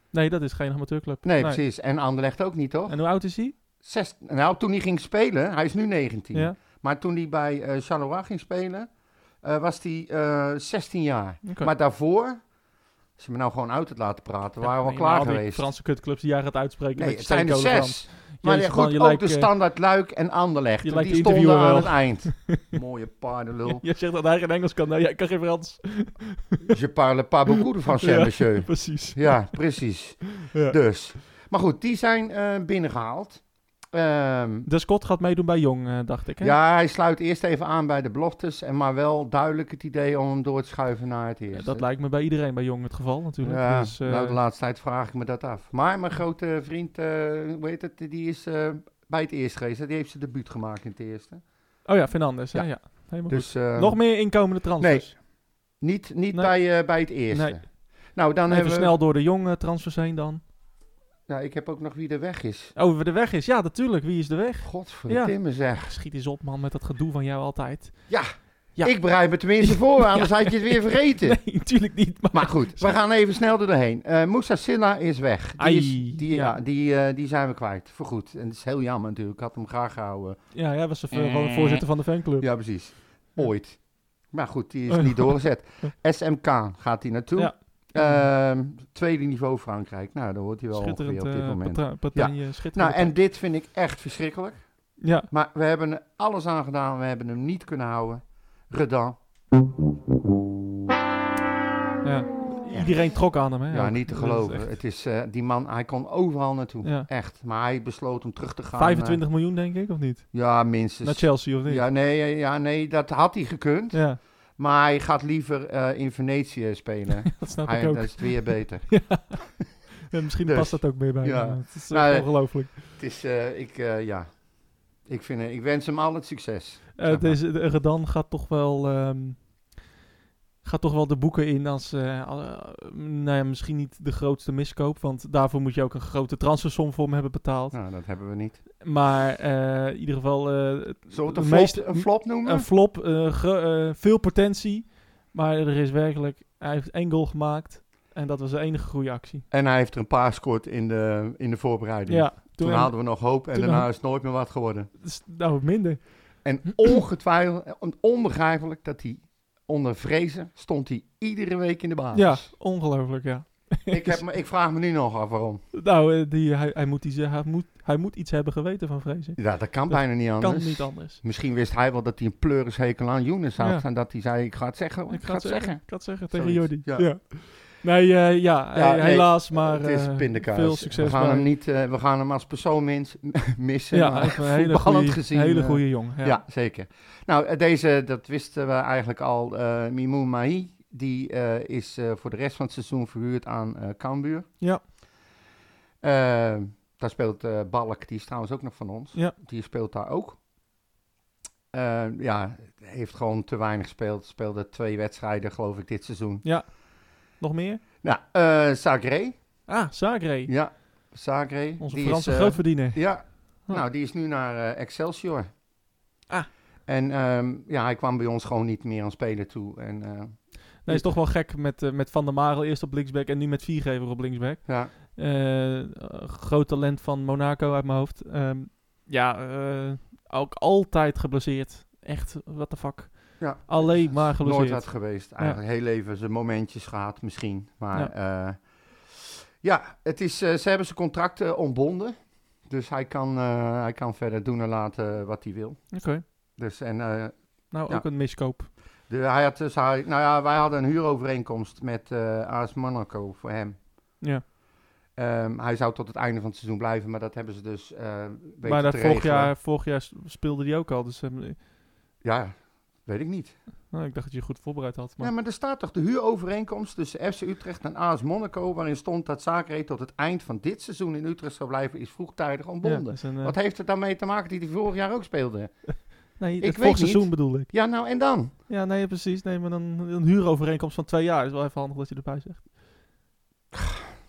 Nee, dat is geen amateurclub. nee, precies. En Anderlecht ook niet, toch? En hoe oud is hij? Zes, nou, toen hij ging spelen, hij is nu 19. Ja. Maar toen hij bij eh Charleroi ging spelen, eh, was hij eh 16 jaar. Oké. Maar daarvoor, als je me nou gewoon uit het laten praten, Ja, waren we al nee, klaar maar al die geweest. Franse kutclubs die jij gaat uitspreken. met nee, je het zijn er steenkolen zes. van. Maar Jezus, ja, goed, man, je ook lijkt, de eh, standaard Luik en Anderlecht. je en lijkt Die de stonden interviewer aan wel. het eind. Mooie paardenlul. Je zegt dat hij geen Engels kan. Nou, jij kan geen Frans. Je parle pas beaucoup de français, Ja. monsieur. Precies. Ja, precies. Ja. Dus. Maar goed, die zijn eh, binnengehaald. Ehm, De Scott gaat meedoen bij Jong, eh, dacht ik. Hè? ja, hij sluit eerst even aan bij de beloftes. En maar wel duidelijk het idee om hem door te schuiven naar het Ja, eerste. dat lijkt me bij iedereen bij Jong het geval natuurlijk. Ja, dus, eh, nou, de laatste tijd vraag ik me dat af. Maar mijn grote vriend, eh, hoe heet het, die is eh, bij het eerste geweest. hè? Die heeft zijn debuut gemaakt in het eerste. oh ja, Fernandes. hè? Ja. Ja. Helemaal goed. Dus eh, Nog meer inkomende transfers. niet, niet Nee. bij, eh, bij het eerste. Nee. Nou, dan Even hebben we... snel door de Jong eh, transfers heen dan. Nou, ik heb ook nog wie de weg is. Oh, de weg is. Ja, natuurlijk. Wie is de weg? Godverdomme zeg. Schiet eens op, man, met dat gedoe van jou altijd. Ja. Ik bereid me tenminste voor, anders had je het weer vergeten. Nee, natuurlijk niet. Maar, Maar goed, we gaan even snel er doorheen. Eh Moussa Silla is weg. Die, Ai, is- die, ja. ja, die, eh, die zijn we kwijt, voorgoed. En dat is heel jammer natuurlijk, ik had hem graag gehouden. ja, jij was de v- gewoon voorzitter van de fanclub. Eh. Ja, precies. Ooit. Maar goed, die is niet doorgezet. SMK gaat hij naartoe. Ja. Ehm, tweede niveau Frankrijk. Nou, daar hoort hij wel ongeveer Schitterend. op dit eh, moment. patra- Bretagne, schitterend. Nou, en dit vind ik echt verschrikkelijk. Ja, Maar we hebben er alles aan gedaan. We hebben hem niet kunnen houden. Redan. ja. Iedereen trok aan hem, hè? Ja, ook. niet te Dat is geloven. echt- Het is, eh, die man, hij kon overal naartoe. Ja. Echt. Maar hij besloot om terug te gaan. eh, 25 miljoen, denk ik, of niet? ja, minstens. Naar Chelsea, of niet? ja, nee, eh, ja, nee, dat had hij gekund. Ja, Maar hij gaat liever eh, in Venetië spelen. dat snap hij, ik ook. dat is het weer beter. En misschien Dus, past dat ook meer bij ja. hem. Het is Nou, echt eh, ongelooflijk. Het is, eh, ik, eh, ja. Ik, vind, eh, ik wens hem al het succes. Eh, maar. deze, de Redan gaat toch wel... ehm, gaat toch wel de boeken in als... eh, al- eh, nou ja, misschien niet de grootste miskoop. Want daarvoor moet je ook een grote transfersom voor hem hebben betaald. Nou, dat hebben we niet. Maar eh, in ieder geval... eh, Zullen we de het een, meeste- flop, een flop noemen? Een flop, eh, gro- eh, veel potentie. Maar er is werkelijk... Hij heeft één goal gemaakt. En dat was de enige goede actie. en hij heeft er een paar gescoord in de, in de voorbereiding. Ja, toen hem- hadden we nog hoop en toen daarna had- is het nooit meer wat geworden. s- Nou, minder. En ongetwijfeld, eh, on- onbegrijpelijk dat hij onder Vrezen stond hij iedere week in de Ja, basis. ongelooflijk, ja. Ik, heb, me- ik vraag me nu nog af waarom. Nou, eh, die, hij, hij, moet iets, hij, moet, hij moet iets hebben geweten van Vrezen. Ja, dat kan Dat bijna niet anders. Kan niet anders. Misschien wist hij wel dat hij een pleurishekel aan Younes had. Ja. En dat hij zei, ik ga het zeggen. hoor, Ik, ga het zeggen. Ik ga het zeggen tegen Zoiets, Jordi. Ja. ja. Nee, eh, ja, Ja, eh, nee, helaas, maar het is eh, pindakaas. veel succes. We gaan, bij- hem niet, eh, we gaan hem als persoon mins- missen. ja, maar echt een hele voetballend goede, gezien, hele eh, goede jongen. Ja. ja. zeker. Nou, eh, deze, dat wisten we eigenlijk al. eh Mimoun Mahi, die eh, is eh, voor de rest van het seizoen verhuurd aan eh Cambuur. Ja. Eh, daar speelt eh, Balk, die is trouwens ook nog van ons. Ja. Die speelt daar ook. Eh, ja, heeft gewoon te weinig gespeeld. Speelde twee wedstrijden, geloof ik, dit seizoen. Nog meer? Nou, eh Zagré. Ah, Zagré. Ja, Zagré. Onze die is, Franse eh, grootverdiener. Ja, Huh. nou, die is nu naar eh, Excelsior. Ah. En ehm, ja, hij kwam bij ons gewoon niet meer aan spelen toe. En eh, Nee, is toch wel gek met, eh, met Van der Marel eerst op linksback en nu met Viergever op linksback. ja, Eh, eh, groot talent van Monaco uit mijn hoofd. Ehm, ja, eh, ook altijd geblesseerd. Echt, what the fuck. Ja. Alleen maar nooit wat geblesseerd. geweest. Eigenlijk heel even zijn momentjes gehad misschien. Maar ja, ja het is, eh, ze hebben zijn contracten ontbonden. Dus hij kan, eh, hij kan verder doen en laten wat hij wil. Oké, Dus en eh, nou Ja. ook een miskoop. De, hij had dus, hij, nou ja, wij hadden een huurovereenkomst met eh AS Monaco voor hem. Ja. Ehm, hij zou tot het einde van het seizoen blijven, maar dat hebben ze dus eh weten Maar dat te vorig, regelen. jaar, vorig jaar s- speelde die ook al. Dus eh, Ja, weet ik niet. nou, ik dacht dat je je goed voorbereid had. Maar, Ja, maar er staat toch de huurovereenkomst tussen FC Utrecht en AS Monaco... waarin stond dat Zaakreed tot het eind van dit seizoen in Utrecht zou blijven... is vroegtijdig Ja, ontbonden. dat is een, eh, Wat heeft het daarmee te maken die hij vorig jaar ook speelde? nee, het ik weet volgend niet. seizoen bedoel ik. Ja, nou en dan? Ja, nee, precies. Nee, maar dan een huurovereenkomst van twee jaar. Is wel even handig dat je erbij zegt.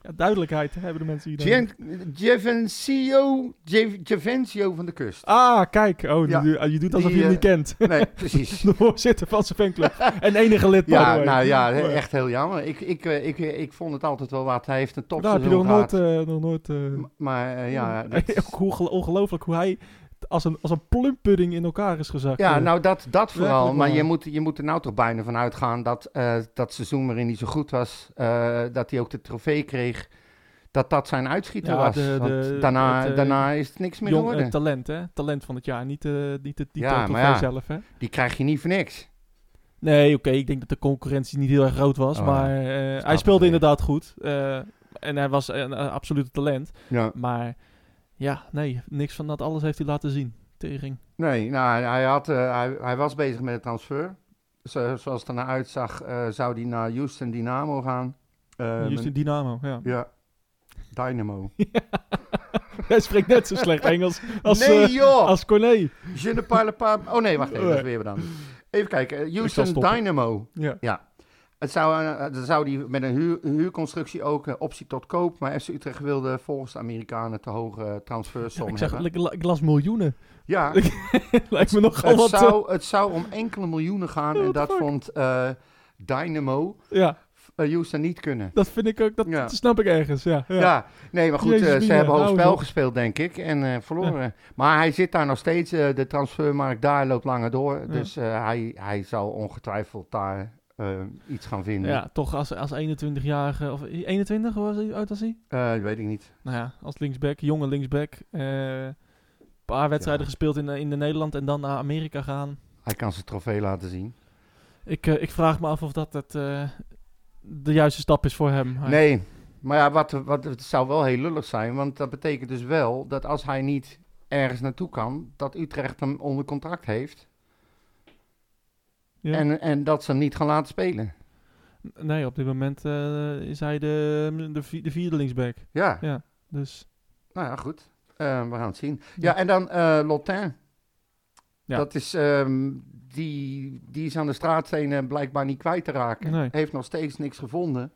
ja, duidelijkheid hebben de mensen hier. dan. Gian- Giavencio, Gia- Giavencio van de Kust. Ah, kijk. Oh, Ja, die- je doet alsof die, je hem eh, niet kent. Nee, precies. de voorzitter van zijn fanclub. en enige lid, by the Ja, way. nou ja, Maar- echt heel jammer. Ik, ik, eh, ik, eh, ik vond het altijd wel wat. Hij heeft een Daar Nou, heb je topseizoen nog nooit... gehad. eh, nog nooit eh, M- maar eh, ja, eh, dat is- ook hoe gel- ongelooflijk hoe hij t- als een, als een plumpudding in elkaar is gezakt. ja, eh. nou dat, dat vooral. werkelijk Maar je waar. moet, je moet er nou toch bijna van uitgaan dat eh, dat seizoen waarin hij zo goed was, eh, dat hij ook de trofee kreeg, dat dat zijn uitschieter Ja, was. de- Want de- daarna, het, eh, daarna is het niks meer Jong, eh, geworden. talent, hè? Talent van het jaar. Niet, eh niet het niet Ja, de trofee maar ja. zelf, hè? Die krijg je niet voor niks. Nee, oké. ik denk dat de concurrentie niet heel erg groot was. Oh, maar eh, snap hij ik speelde weer. inderdaad goed. eh, en hij was een eh, absolute talent. Ja. Maar ja, nee. Niks van dat alles heeft hij laten zien. Tering. Nee, nou, hij, had, eh, hij, hij was bezig met de transfer. Zo, zoals het ernaar uitzag, eh, zou hij naar Houston Dynamo gaan. Eh, Justin Dynamo, ja. Ja. Dynamo. Hij spreekt net zo slecht Engels als, nee eh, joh! als Corné. Je ne parle pas... Oh nee, wacht even, dat is weer dan. Even kijken, eh, Houston stoppen. Dynamo. Ja. Het zou, eh, dan zou die met een huur, huurconstructie ook eh, optie tot koop, maar FC Utrecht wilde volgens de Amerikanen te hoge eh, transfersom Ik, zeg, hebben. ik, la- ik las miljoenen. Ja, Lijkt me nogal het wat. eh, zou, het zou om enkele miljoenen gaan en What the dat fuck? vond eh, Dynamo ja, eh, Houston niet kunnen. dat vind ik ook. Dat, Ja. dat snap ik ergens. Ja, ja. Ja. nee, maar goed, Jezus, eh, ze Mina, hebben hoog hou eens spel op. gespeeld, denk ik, en eh, verloren. Maar hij zit daar nog steeds, eh, de transfermarkt daar loopt langer door, dus eh, hij, hij zal ongetwijfeld daar eh, iets gaan vinden. Ja, toch als, als 21-jarige. Of 21 was hij, oud was hij? Eh, dat weet ik niet. Nou ja, als linksback, jonge linksback. eh, een paar wedstrijden gespeeld in, eh, in de Nederland en dan naar Amerika gaan. Hij kan zijn trofee laten zien. Ik, eh, ik vraag me af of dat het, eh, de juiste stap is voor hem. Hij- Nee, maar ja, wat, wat, het zou wel heel lullig zijn, want dat betekent dus wel dat als hij niet ergens naartoe kan, dat Utrecht hem onder contract heeft. Ja. En, en dat ze hem niet gaan laten spelen. nee op dit moment eh, is hij de, de, vi- de vierde linksback. Ja, Dus nou ja, goed. Eh, we gaan het zien. Ja, en dan eh Lotin. Ja. Dat is, ehm, die, die is aan de straatstenen blijkbaar niet kwijt te raken. Nee. Heeft nog steeds niks gevonden.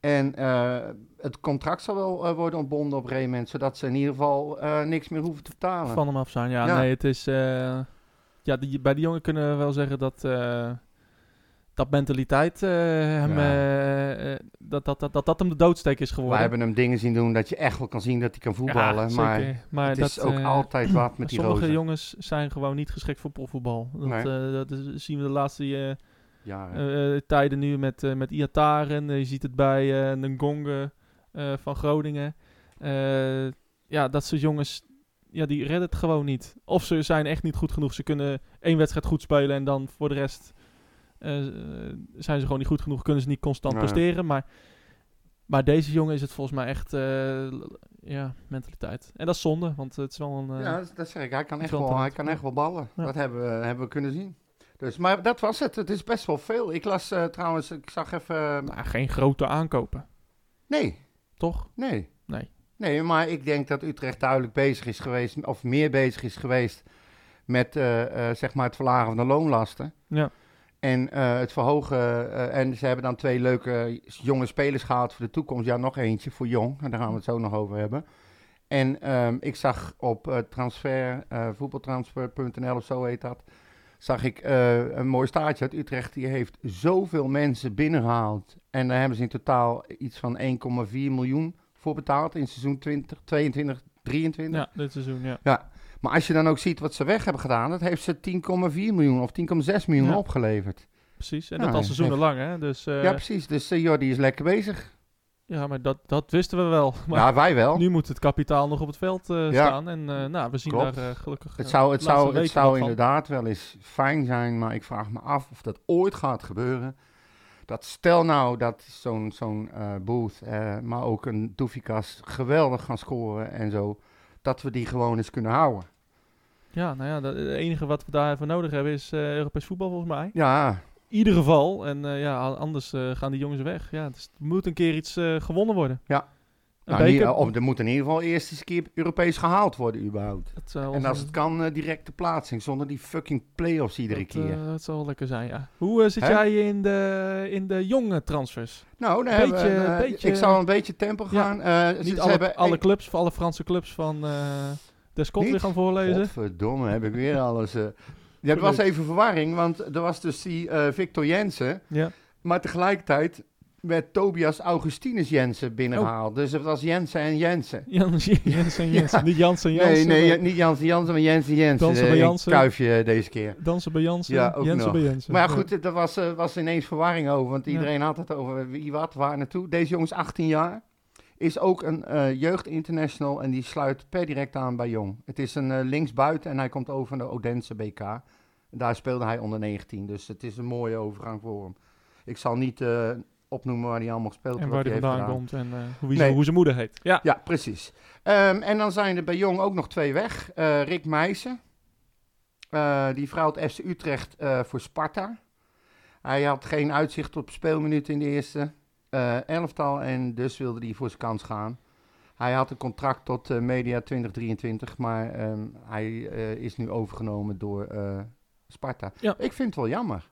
En eh, het contract zal wel eh, worden ontbonden op Raymond, zodat ze in ieder geval eh, niks meer hoeven te betalen. van hem af zijn. Ja, Ja. nee, het is. eh, ja, die, bij die jongen kunnen we wel zeggen dat. eh, dat mentaliteit eh, hem. Ja. eh, eh, dat, dat, dat, dat dat hem de doodsteek is geworden. Wij hebben hem dingen zien doen dat je echt wel kan zien dat hij kan voetballen. Ja, maar zeker. maar het dat, is ook eh, altijd wat met die Sommige rozen. jongens zijn gewoon niet geschikt voor profvoetbal. Dat, Nee. eh, dat is- zien we de laatste eh, Ja, eh, eh, tijden nu met, eh met Iataren. je ziet het bij eh Ngong eh, van Groningen. Eh, ja, dat soort jongens, ja, die redden het gewoon niet. Of ze zijn echt niet goed genoeg. Ze kunnen één wedstrijd goed spelen en dan voor de rest eh, zijn ze gewoon niet goed genoeg. Kunnen ze niet constant Nee. presteren. Maar, maar deze jongen is het volgens mij echt eh, l- ja, mentaliteit. En dat is zonde, want het is wel een... eh, ja dat, dat zeg ik. Hij kan echt wel wel, hij talent. kan echt wel ballen. Ja. Dat hebben we, hebben we kunnen zien. Dus, maar dat was het. Het is best wel veel. Ik las eh, trouwens, ik zag even... eh, nou, geen grote aankopen, nee, toch? nee. Nee. Nee, maar ik denk dat Utrecht duidelijk bezig is geweest, of meer bezig is geweest met eh, eh, zeg maar het verlagen van de loonlasten. Ja. En eh, het verhogen. eh, en ze hebben dan twee leuke jonge spelers gehaald voor de toekomst. Ja, nog eentje voor jong. En daar gaan we het zo nog over hebben. En ehm, ik zag op eh, transfer, eh, voetbaltransfer.nl of zo heet dat. Zag ik eh, een mooi staartje uit Utrecht. Die heeft zoveel mensen binnengehaald. En daar hebben ze in totaal iets van 1,4 miljoen voor betaald. In seizoen 20, 22, 23. Ja, dit seizoen, ja. Maar als je dan ook ziet wat ze weg hebben gedaan, dat heeft ze 10,4 miljoen of 10,6 miljoen Ja. opgeleverd. Precies, en Ja, dat al nee, seizoenen lang, hè? Dus eh, ja, precies. Dus eh, Jordi is lekker bezig. Ja, maar dat, dat wisten we wel. Maar Ja, wij wel. nu moet het kapitaal nog op het veld eh, Ja. staan. En eh, nou, we zien Klopt. daar eh, gelukkig Het eh, zou, het de laatste zou, het weken zou wat van. inderdaad wel eens fijn zijn, maar ik vraag me af of dat ooit gaat gebeuren. Dat stel nou dat zo'n zo'n eh, Booth, eh, maar ook een Doefikas geweldig gaan scoren en zo, dat we die gewoon eens kunnen houden. Ja, nou ja, dat- het enige wat we daarvoor nodig hebben is eh, Europees voetbal volgens mij. Ja, In ieder geval. En eh, ja, a- anders eh, gaan die jongens weg. Ja, het is- er moet een keer iets eh, gewonnen worden. Ja. Een nou, in beker. ieder- of er moet in ieder geval eerst eens een keer Europees gehaald worden überhaupt. dat zou En ons- als het kan, eh, direct de plaatsing, zonder die fucking play-offs iedere dat, keer. eh, dat zal wel lekker zijn, ja. Hoe eh, zit Hè? jij in de, in de jonge transfers? Nou, daar Een hebben we beetje- een, eh, beetje- ik zal een beetje tempo Ja, gaan. Eh, ze- Niet ze alle, hebben alle één- clubs, alle Franse clubs van eh Descott Niet? weer gaan voorlezen. Godverdomme, heb ik weer alles. eh. Ja, er was even verwarring, want er was dus die eh, Victor Jensen. Ja. Maar tegelijkertijd werd Tobias Augustinus Jensen Oh. binnengehaald. Dus het was Jensen en Jensen. Jans, Jens en Jensen. Niet Jans en Jansen. nee, nee, maar ja, niet Jansen Jansen, maar Jensen Jensen. Dansen bij Eh, Jansen. Een kuifje deze keer. Dansen bij Jansen. Ja, ook Jensen nog. bij Jensen. Maar ja, Ja. goed, eh, er was, eh, was ineens verwarring over. Want Ja. iedereen had het over wie wat, waar naartoe. Deze jongen is 18 jaar. Is ook een eh jeugd international en die sluit per direct aan bij Jong. Het is een eh, linksbuiten en hij komt over naar de Odense BK. Daar speelde hij onder 19, dus het is een mooie overgang voor hem. Ik zal niet eh, opnoemen waar hij allemaal speelt. En wat waar die hij heeft vandaan gedaan. komt en eh, hoe, wie- Nee. hoe zijn moeder heet. Ja. Ja, precies. Ehm, en dan zijn er bij Jong ook nog twee weg. Eh, Rick Meijsen. Eh, die vrouwt FC Utrecht eh, voor Sparta. Hij had geen uitzicht op speelminuten in de eerste eh, elftal. En dus wilde hij voor zijn kans gaan. Hij had een contract tot eh, media 2023. Maar ehm, hij eh, is nu overgenomen door eh, Sparta. Ja. Ik vind het wel jammer.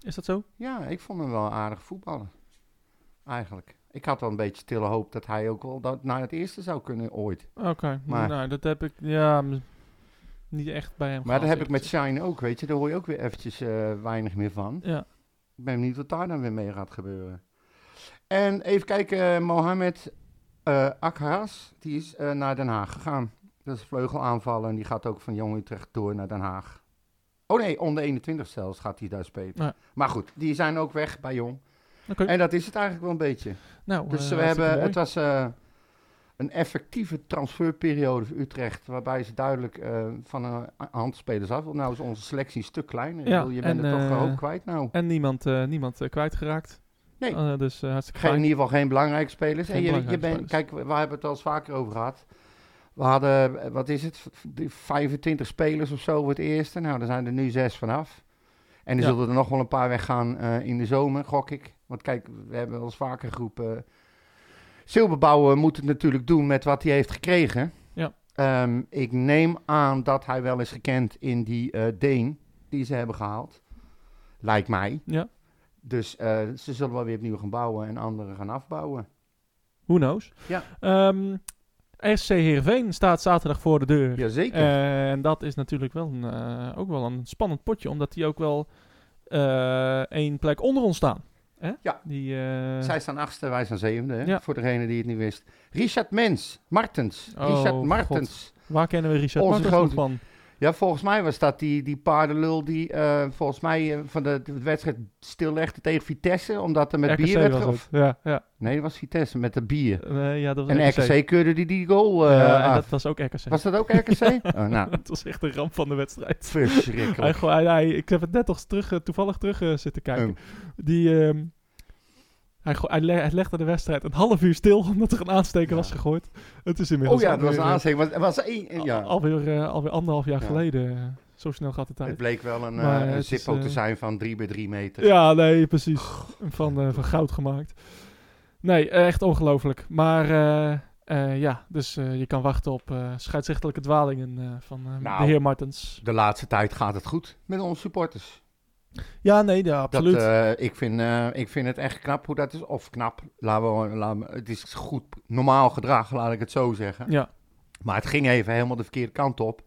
Is dat zo? Ja, ik vond hem wel aardig voetballen. Eigenlijk. Ik had wel een beetje stille hoop dat hij ook wel dat naar het eerste zou kunnen ooit. Oké. Maar- Nou, dat heb ik ja, m- niet echt bij hem Maar dat gehad, heb ik met eerlijk Shine ook, weet je. Daar hoor je ook weer eventjes eh, weinig meer van. gezegd. Ja. Ik ben benieuwd wat daar dan weer mee gaat gebeuren. En even kijken, eh, Mohamed eh Akharas, die is eh, naar Den Haag gegaan. Dat is vleugelaanvallen en die gaat ook van Jong Utrecht door naar Den Haag. Oh nee, onder 21 zelfs gaat hij daar spelen. Ja. Maar goed, die zijn ook weg bij Jong. Oké. En dat is het eigenlijk wel een beetje. Nou, Dus eh, we hartstikke hebben, mooi. het was eh, een effectieve transferperiode voor Utrecht, waarbij ze duidelijk eh, van een handspelers af. wil. Nou is onze selectie een stuk kleiner. Ik Ja, bedoel, je bent en, er toch eh, een hoop kwijt nou. En niemand, eh, niemand eh, kwijtgeraakt. Nee. Eh, dus eh, hartstikke Geen, in fijn. ieder geval geen belangrijke spelers. Geen en je, je belangrijke bent, kijk, we, we hebben het al eens vaker over gehad. We hadden, eh, wat is het, v- die 25 spelers of zo voor het eerste. Nou, er zijn er nu zes vanaf. En er Ja. zullen er nog wel een paar weggaan eh, in de zomer, gok ik. Want kijk, we hebben wel eens vaker groepen. Silberbouwer moet het natuurlijk doen met wat hij heeft gekregen. Ja. Ehm, ik neem aan dat hij wel is gekend in die eh, Deen die ze hebben gehaald. Lijkt mij. Ja. Dus eh, ze zullen wel weer opnieuw gaan bouwen en anderen gaan afbouwen. Who knows? Ja. Ehm, SC Heerenveen staat zaterdag voor de deur. Jazeker. Eh, en dat is natuurlijk wel een, eh, ook wel een spannend potje, omdat die ook wel eh, één plek onder ons staan. Hè? Ja. Die, eh, Zij staan achtste, wij staan zevende. hè, Ja. Voor degene die het niet wist. Richard Mens, Martens. Oh, Richard Martens. Waar kennen we Richard Onze Martens nog grote- van? Ja, volgens mij was dat die, die paardenlul die eh, volgens mij eh, van de, de wedstrijd stillegde tegen Vitesse. Omdat er met RKC bier werd was ge- het. Ja, ja. Nee, dat was Vitesse met de bier. Eh, ja, dat was En RKC keurde die, die goal eh, Ja, en af. dat was ook RKC. Was dat ook RKC? Oh, nou, Het was echt een ramp van de wedstrijd. Hij, verschrikkelijk. go- hij, hij- ik heb het net nog terug, eh, toevallig terug eh, zitten kijken. Um. Die, ehm, hij, go- hij, le- hij legde de wedstrijd een half uur stil omdat er een aansteker Ja. was gegooid. Het is inmiddels eh, Oh ja, dat was een alweer, aanzet. Het was één... eh, ja. al- alweer, eh, alweer anderhalf jaar Ja. geleden. eh, Zo snel gaat de tijd. Het bleek wel een, Maar eh, een het is, zippo te eh, zijn van 3 bij 3 meter. Ja, nee, precies. Oh, Van, eh, van goud gemaakt. Nee, eh, echt ongelooflijk. Maar eh, eh, ja, dus eh, je kan wachten op eh scheidsrechtelijke dwalingen eh, van eh, Nou. de heer Martens. De laatste tijd gaat het goed met onze supporters. Ja, nee, ja, Dat, absoluut. eh, ik, vind, eh, ik vind het echt knap hoe dat is. Of knap, laten we, laten we- het is goed normaal gedrag, laat ik het zo zeggen. ja. Maar het ging even helemaal de verkeerde kant op.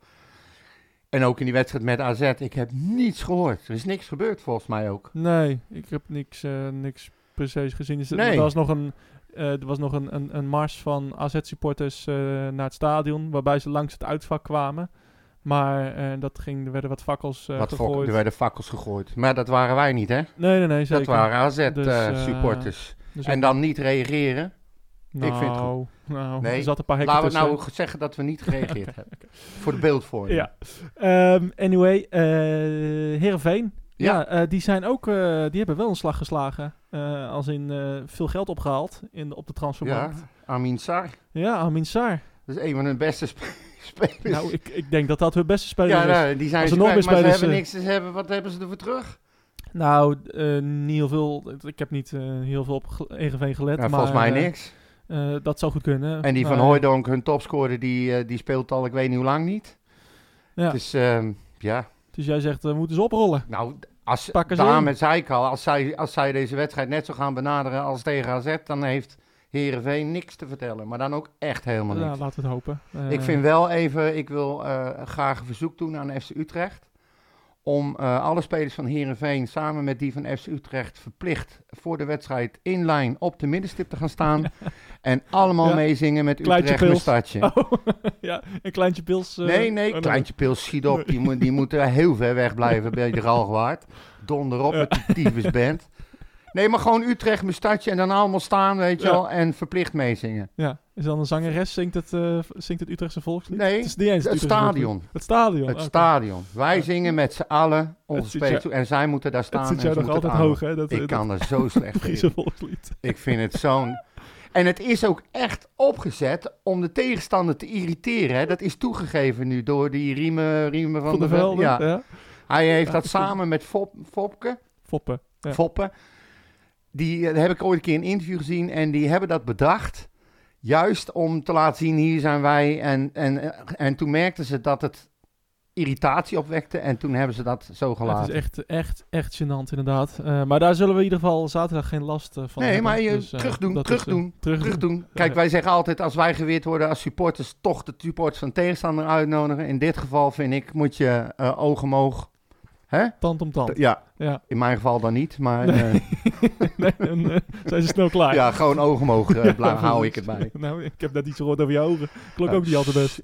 En ook in die wedstrijd met AZ, ik heb niets gehoord. Er is niks gebeurd volgens mij ook. Nee, ik heb niks, eh, niks precies gezien. Is het- Nee. Er was nog een, eh, er was nog een, een, een mars van AZ-supporters eh, naar het stadion, waarbij ze langs het uitvak kwamen. Maar eh, dat ging, er werden wat fakkels eh, Wat fok, gegooid. er werden fakkels gegooid. Maar dat waren wij niet, hè? Nee, nee, nee, zeker. Dat waren Dus, eh, AZ-supporters. Dus en dan niet reageren. vind het goed. Nou, nou, Nee, er zat een paar hekken Laten we tussen. nou zeggen dat we niet gereageerd hebben. Voor de beeldvorming. Ja. Ehm, anyway, eh Heerenveen. Ja, Ja. eh, die zijn ook, eh, die hebben wel een slag geslagen. Eh, als in eh, veel geld opgehaald in de, op de ja. transfermarkt. Amin Sar. Ja, Amin Saar. Dat is een van hun beste spe- spelers. Nou, ik, ik denk dat dat hun beste speler ja, is. nou, die zijn Als er ze nog kwijt, meer maar ze spelers, hebben eh, niks. Ze hebben, wat hebben ze ervoor terug? Nou, eh, niet heel veel. Ik heb niet eh, heel veel op ge- Heerenveen gelet. Nou, maar, volgens mij eh, niks. eh, dat zou goed kunnen. En die van Maar, Hooijdonk, hun topscorer, die, eh, die speelt al ik weet niet hoe lang niet. Ja. Dus ehm, ja, Dus jij zegt, we moeten ze oprollen. nou, als, Pakken ze in. daarom zei ik al, als zij, als zij deze wedstrijd net zo gaan benaderen als tegen AZ, dan heeft Herenveen niks te vertellen. Maar dan ook echt helemaal Ja, niks. laten we het hopen. Eh, Ik vind wel even, ik wil eh, graag een verzoek doen aan FC Utrecht. Om eh, alle spelers van Herenveen samen met die van FC Utrecht verplicht voor de wedstrijd in lijn op de middenstip te gaan staan. En allemaal Ja. meezingen met Kleintje Utrecht Pils. mijn stadje. Oh, ja, een kleintje pils. eh, nee, oh, nee, nee. Kleintje Pils schiet op. Die, moet, die moeten heel ver weg blijven bij de Galgewaard. Donder op Ja. met die tyfusband. Nee, maar gewoon Utrecht mijn stadje en dan allemaal staan, weet je Ja. wel. En verplicht meezingen. Ja, is dan een zangeres zingt het, eh, v- zingt het Utrechtse volkslied? Nee, het is niet eens Het Utrechtse volkslied. stadion. Het stadion. Het oké. stadion. Wij Ja. zingen met z'n allen onze zit spelers jou- toe. En zij moeten daar Het staan. zit en jou ze nog moeten altijd het hoog, hè? Dat, eh, aanhouden. Ik dat kan er zo slecht Friese in. volkslied. Ik vind het zo'n... En het is ook echt opgezet om de tegenstander te irriteren. Hè? Dat is toegegeven nu door die riemen, riemen van, Van de Velde. velden. Ja. Ja. Hij heeft Ja, dat ik vind- samen met Fop, Fopke, Foppen. Ja. Foppe. Die eh, heb ik ooit een keer in een interview gezien. En die hebben dat bedacht. Juist om te laten zien, hier zijn wij. En, en, eh, en toen merkten ze dat het irritatie opwekte. En toen hebben ze dat zo Het gelaten. is echt, echt, echt gênant inderdaad. Eh, maar daar zullen we in ieder geval zaterdag geen last eh, van Nee, hebben. maar je- Dus, eh, terugdoen, dat terugdoen, eh, terugdoen. Terug doen. Kijk, wij zeggen altijd als wij geweerd worden als supporters, toch de supporters van tegenstander uitnodigen. In dit geval vind ik, moet je eh oog omhoog. Hè? Tand om tand. Ja, Ja. in mijn geval dan niet, maar Nee. eh, nee, dan eh, zijn ze snel klaar. ja, gewoon oog omhoog eh, Ja, blijven, hou ik het precies. bij. nou, ik heb net iets gehoord over je ogen. Klonk Ja. ook niet altijd best.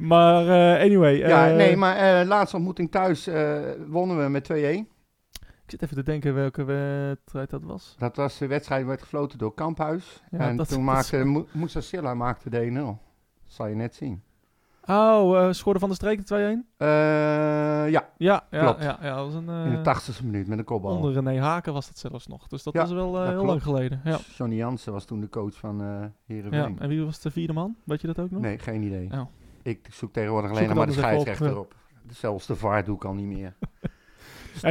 Maar eh, anyway. Ja, eh, nee, maar eh, laatste ontmoeting thuis eh, wonnen we met 2-1. Ik zit even te denken welke wedstrijd dat was. Dat was de wedstrijd, werd gefloten door Kamphuis. Ja, en dat- toen dat- maakte Mo- Moussa Silla maakte de 1-0. Dat zal je net zien. Oh, eh schoorde van de streek de 2-1? Eh, ja, Ja, ja, Klopt. ja, ja, dat was een eh, in de 80ste minuut met een kopbal. onder René Haken was dat zelfs nog. Dus dat Ja, was wel eh, dat heel klopt. lang geleden. Ja. Johnny Jansen was toen de coach van eh ja. Heerenveen. En wie was de vierde man? Weet je dat ook nog? nee, geen idee. Oh. Ik zoek tegenwoordig Zoek alleen het nog maar de anders even op, scheidsrechter ja. op. Zelfs de VAR doe ik al niet meer. Stom,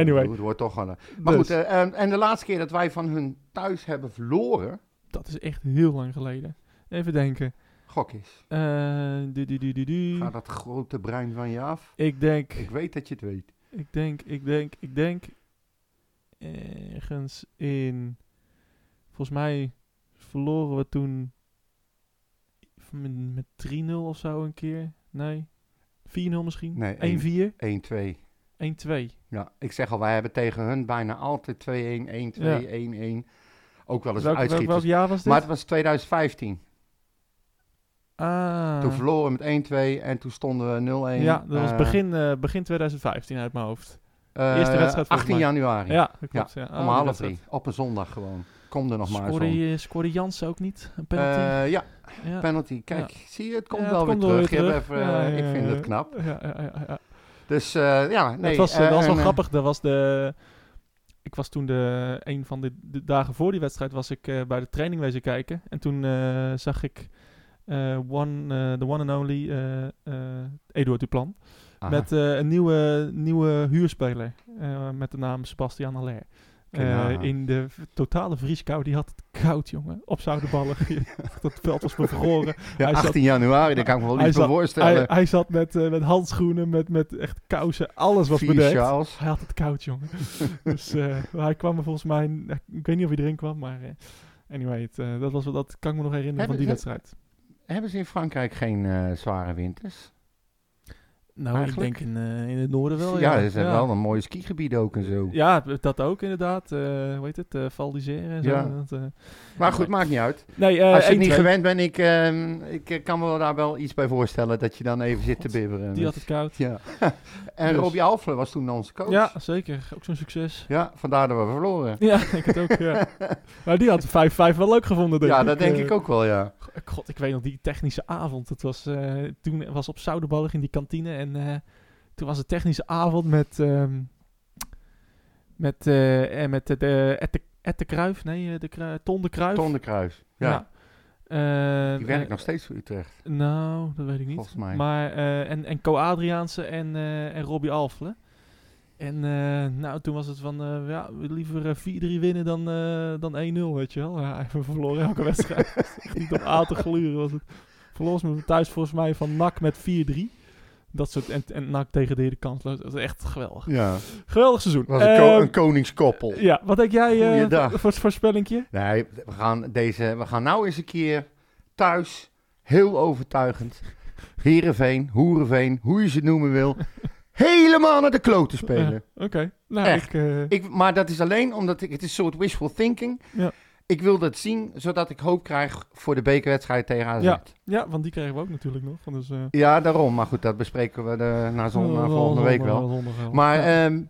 Anyway. Het wordt toch wel... een- Maar Dus, goed, eh, en- en de laatste keer dat wij van hun thuis hebben verloren, dat is echt heel lang geleden. Even denken. gok is. Eh, du- du- du- du- du. Ga dat grote brein van je af. Ik denk, Ik weet dat je het weet. ik denk, ik denk, ik denk. Ergens in. Volgens mij verloren we toen. Met, met 3-0 of zo een keer. Nee. 4-0 misschien? Nee, 1-4. 1-2. 1-2. Ja, ik zeg al, wij hebben tegen hun bijna altijd 2-1, 1-2, Ja. 1-1. Ook wel eens Welk, welk, welk uitschieters. jaar was dit? Maar het was 2015. ah. Toen verloren we met 1-2 en toen stonden we 0-1. Ja, dat was eh, begin, eh, begin 2015 uit mijn hoofd. eh, eerste wedstrijd volgens 18 mij. januari. Ja, dat klopt. Ja. Om half drie. Op een zondag gewoon. Kom er nog maar eens Scoorde, om. je- scoorde Jansen ook niet? Een penalty? Eh, ja, ja. penalty. Kijk, zie je, het komt Ja, wel het weer komt terug. Je terug. hebt even, Ja, eh, ja, ik vind ja, het ja. knap. Ja, ja, ja, ja, ja. Dus eh, ja, nee. het was, eh, eh, dat was wel en, eh, grappig. Dat was de, ik was toen de, een van de, de dagen voor die wedstrijd was ik eh, bij de training wezen kijken. En toen eh, zag ik eh one, eh, the one and only eh eh Eduard Duplan. aha, Met eh, een nieuwe, nieuwe huurspeler. eh, met de naam Sebastian Haller. Oké, Eh, nou. in de v- totale vrieskou. Die had het koud, jongen. Op zoutballen. dat veld was bevroren. ja, hij zat- 18 januari, daar kan ik me wel hij iets bij zat- hij, voorstellen. hij zat met, eh, met handschoenen, met, met echt kousen. Alles was Vier bedekt. Charles. Hij had het koud, jongen. dus eh, hij kwam er volgens mij... Ik weet niet of hij erin kwam, maar... eh, anyway, het, eh, dat, was, wel- dat kan ik me nog herinneren van Hebben- die heb- wedstrijd. Hebben ze in Frankrijk geen eh, zware winters? Nou, Eigenlijk? ik denk in, eh, in het noorden wel. ja, Ja, er zijn Ja. wel een mooie skigebied ook en zo. Ja, dat ook inderdaad. Eh hoe heet het? eh Val d'Isère en zo. Ja. Dat, eh, Maar goed, maakt niet uit. Nee, eh, Als je het 1-2. niet gewend bent, ik, ehm, ik eh, kan me daar wel iets bij voorstellen dat je dan even zit te bibberen. Die had het koud. Ja. en Dus- Robbie Alfler was toen onze coach. Ja, zeker. Ook zo'n succes. Ja, vandaar dat we verloren. Ja, ik het ook, ja. Maar die had 5-5 wel leuk gevonden, denk ja, ik. dat denk Eh, ik ook wel, ja. God, ik weet nog die technische avond. Het was, eh, toen was op Zoudenballig in die kantine. En eh, toen was het technische avond met. ehm, met. eh, en met de. de Ed de, Ed de Kruif. Nee, eh, de Kru- Ton de Kruif. Ton de Kruis. Ja, Eh, die werkt eh, nog steeds voor Utrecht, Nou, dat weet ik niet. volgens mij. Maar, eh, en, en Co Adriaanse en, eh, en Robbie Alfle. En eh, nou, toen was het van, eh, ja, we liever eh, 4-3 winnen dan, eh, dan 1-0, weet je wel. Ja, en we verloren elke wedstrijd. Dat is echt niet op aan te gluren was het. Verloor ze me thuis volgens mij van NAC met 4-3. Dat soort, en, en NAC tegen de heren kansloos. Dat is echt geweldig. ja, Geweldig seizoen. was een, ko- Ehm, een koningskoppel. Eh, ja, wat denk jij eh Goeiedag. voor voor het voorspellingje? Nee, we gaan, deze, we gaan nou eens een keer thuis, heel overtuigend, Herenveen, Hoerenveen, hoe je ze noemen wil, helemaal naar de kloten spelen. Oké. Nou, Echt. ik... eh, Ik, maar dat is alleen omdat ik, het is een soort wishful thinking. Ja. Ik wil dat zien, zodat ik hoop krijg voor de bekerwedstrijd tegen AZ. Ja. ja, want die kregen we ook natuurlijk nog. Dus, eh, Ja, daarom. Maar goed, dat bespreken we de, na zon, na volgende week wel. Maar ja. ehm,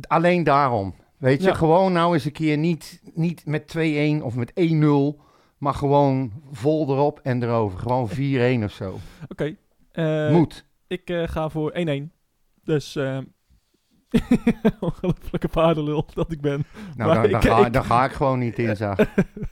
d- alleen daarom. Weet je, Ja. gewoon nou eens een keer niet, niet met 2-1 of met 1-0, maar gewoon vol erop en erover. Gewoon 4-1 of zo. Oké. eh, Moet. Ik eh, ga voor 1-1. Dus... ehm Ongelooflijke paardenlul dat ik ben. Nou, maar dan, dan, ik- ga, ik- dan ga ik gewoon niet in, Zag. Dan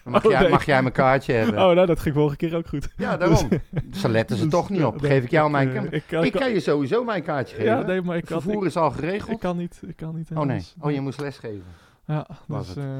mag, Oh, jij, nee. mag jij mijn kaartje hebben. Oh, nou, dat ging vorige keer ook goed. ja, daarom. Ze letten ze Dus, toch niet eh, op. nee, Geef ik jou ik, mijn... eh, kaart. ik kan- ik kan je sowieso mijn kaartje geven. ja, nee, maar ik Het kan, vervoer ik, is al ik geregeld. kan niet. Ik kan niet Oh nee. helaas. Oh, je moest lesgeven. Ja, Was dus, het. eh,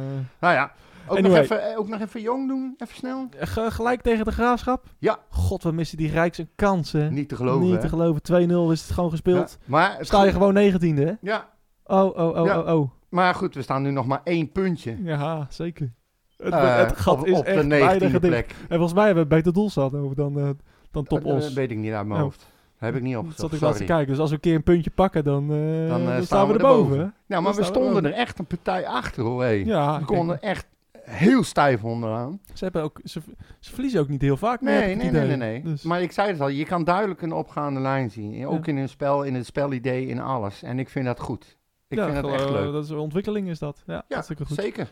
Nou ja, ook, Anyway. nog, even, eh, ook nog even jong doen. Even snel. eh, ge- gelijk tegen de graafschap. Ja. God, we missen die Rijks een kans, hè? Niet te geloven, Niet hè? te geloven. 2-0 is het gewoon gespeeld. Ja, maar het Sta je goed- gewoon 19e, hè? Ja, Oh, oh, oh, Ja. oh, oh. maar goed, we staan nu nog maar één puntje. Ja, zeker. Het, eh, het gat op, is op de echt bijna 19e gedicht. plek. En volgens mij hebben we beter doelstad over dan, eh, dan Top Eh, Os. eh, weet ik niet uit mijn Oh. hoofd. Heb ik niet dat zat opgezocht, ik laatst te sorry. kijken. Dus als we een keer een puntje pakken, dan, eh, Dan, eh, dan staan staan we we erboven. erboven. Nou, maar Dan we staan we stonden wel. er echt een partij achter, hoor. hé. Ja, we kijk, konden echt heel stijf onderaan. ze, hebben ook, ze, ze verliezen ook niet heel vaak meer, heb Nee, ik nee, het nee, nee. idee. nee. Dus, Maar ik zei het al, je kan duidelijk een opgaande lijn zien. Ook in een spel, in het spelidee, in alles. En ik vind dat goed. Ik ja, vind dat echt gewoon, leuk. eh, Dat is een ontwikkeling, is dat. Ja, Ja, hartstikke goed. Zeker.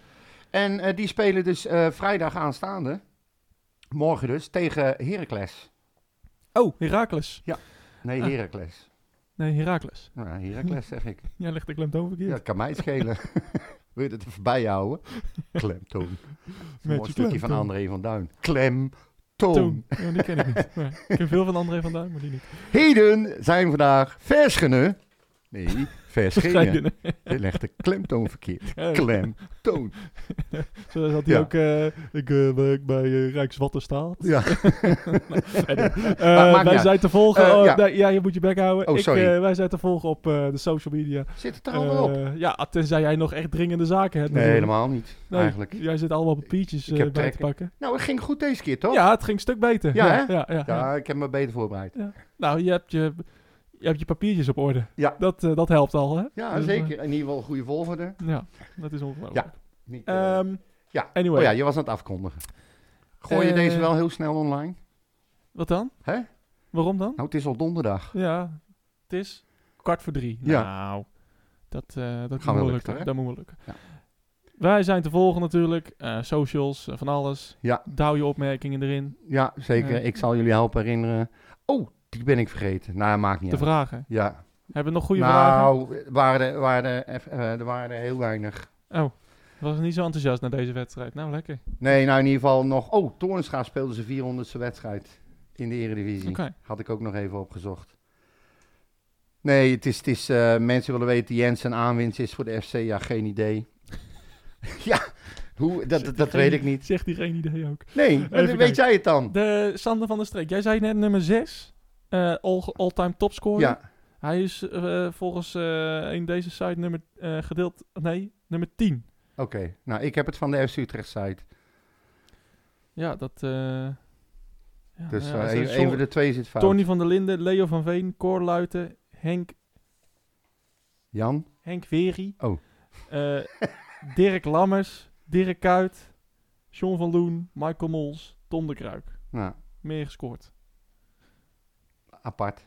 En eh, die spelen dus eh, vrijdag aanstaande, morgen dus, tegen Heracles. Oh, Herakles. Nee, Ah. Heracles. Nee, Herakles. Nou, Heracles zeg ik. Jij legt de klemtoon Ja, verkeerd. dat kan mij schelen. Wil je dat even bijhouden? Klemtoon. Mooi je stukje van klemtoon. André van Duin. Klemtoon. Toen. Ja, die ken ik niet. Nee, ik ken veel van André van Duin, maar die niet. Heden zijn vandaag Verschenen. Nee, Verschenen. Schijnen. Je legt de klemtoon verkeerd. Ja, Klemtoon. Zo had hij Ja. ook... eh, ik eh, werk bij eh, Rijkswaterstaat. Ja. Eh, Maar maakt wij niet zijn te volgen. Eh, oh, ja. nee, ja, je moet je bek houden. Oh, Ik, sorry. eh, wij zijn te volgen op eh, de social media. Zit het er allemaal op? Eh, ja, tenzij jij nog echt dringende zaken hebt. Nee, natuurlijk. helemaal niet. Nee, Eigenlijk. Jij zit allemaal papiertjes Ik eh heb bij te trek. pakken. Nou, het ging goed deze keer, toch? Ja, het ging een stuk beter. Ja, ja, hè? ja, ja. Ja, ik heb me beter voorbereid. Nou, je hebt je, je hebt je papiertjes op orde. Ja. Dat, eh, dat helpt al, hè? Ja, Dus, zeker. In ieder geval een goede volgorde. eh, ja, dat is ongelooflijk. Niet, eh, Ehm, ja. Anyway, oh ja, je was aan het afkondigen. Gooi je Eh, deze wel heel snel online? wat dan? Hè? Waarom dan? Nou, het is al donderdag. Ja, het is kwart voor drie. Ja. Nou, dat, eh, dat Gaan moet we wel lukken, lukken. hè? Dat moet wel lukken. Ja. Wij zijn te volgen natuurlijk. eh, socials, eh, van alles. Ja. Douw je opmerkingen erin. Ja, zeker. Eh. Ik zal jullie helpen herinneren. Oh, die ben ik vergeten. Nou, maakt niet Te uit. vragen. Ja. Hebben we nog goede vragen? nou, er waren, er waren, er eff- eh, er waren er heel weinig. Oh, was niet zo enthousiast na deze wedstrijd. Nou, lekker. Nee, nou in ieder geval nog... Oh, Toornstra speelde zijn 400ste wedstrijd in de Eredivisie. Oké. Had ik ook nog even opgezocht. Nee, het is, het is, eh, mensen willen weten, Jensen aanwinst is voor de FC. Ja, geen idee. ja, hoe, dat, dat, dat weet ik niet. Zegt die geen idee ook. Nee, maar Even weet kijken. jij het dan? De Sander van der Streek. Jij zei net nummer 6. all, all-time topscorer. Ja, Hij is eh, volgens eh, in deze site nummer eh, gedeeld... Nee, nummer 10. oké. Nou, ik heb het van de FC Utrecht site. Ja, dat... eh, ja, Dus nou ja, eh, ze- een, John- een van de twee zit fout. Tony van der Linden, Leo van Veen, Cor Luiten, Henk, Jan? Henk Veri. Oh. eh, Dirk Lammers, Dirk Kuyt, John van Loen, Michael Mols, Tom de Kruik. Nou, Meer gescoord. apart.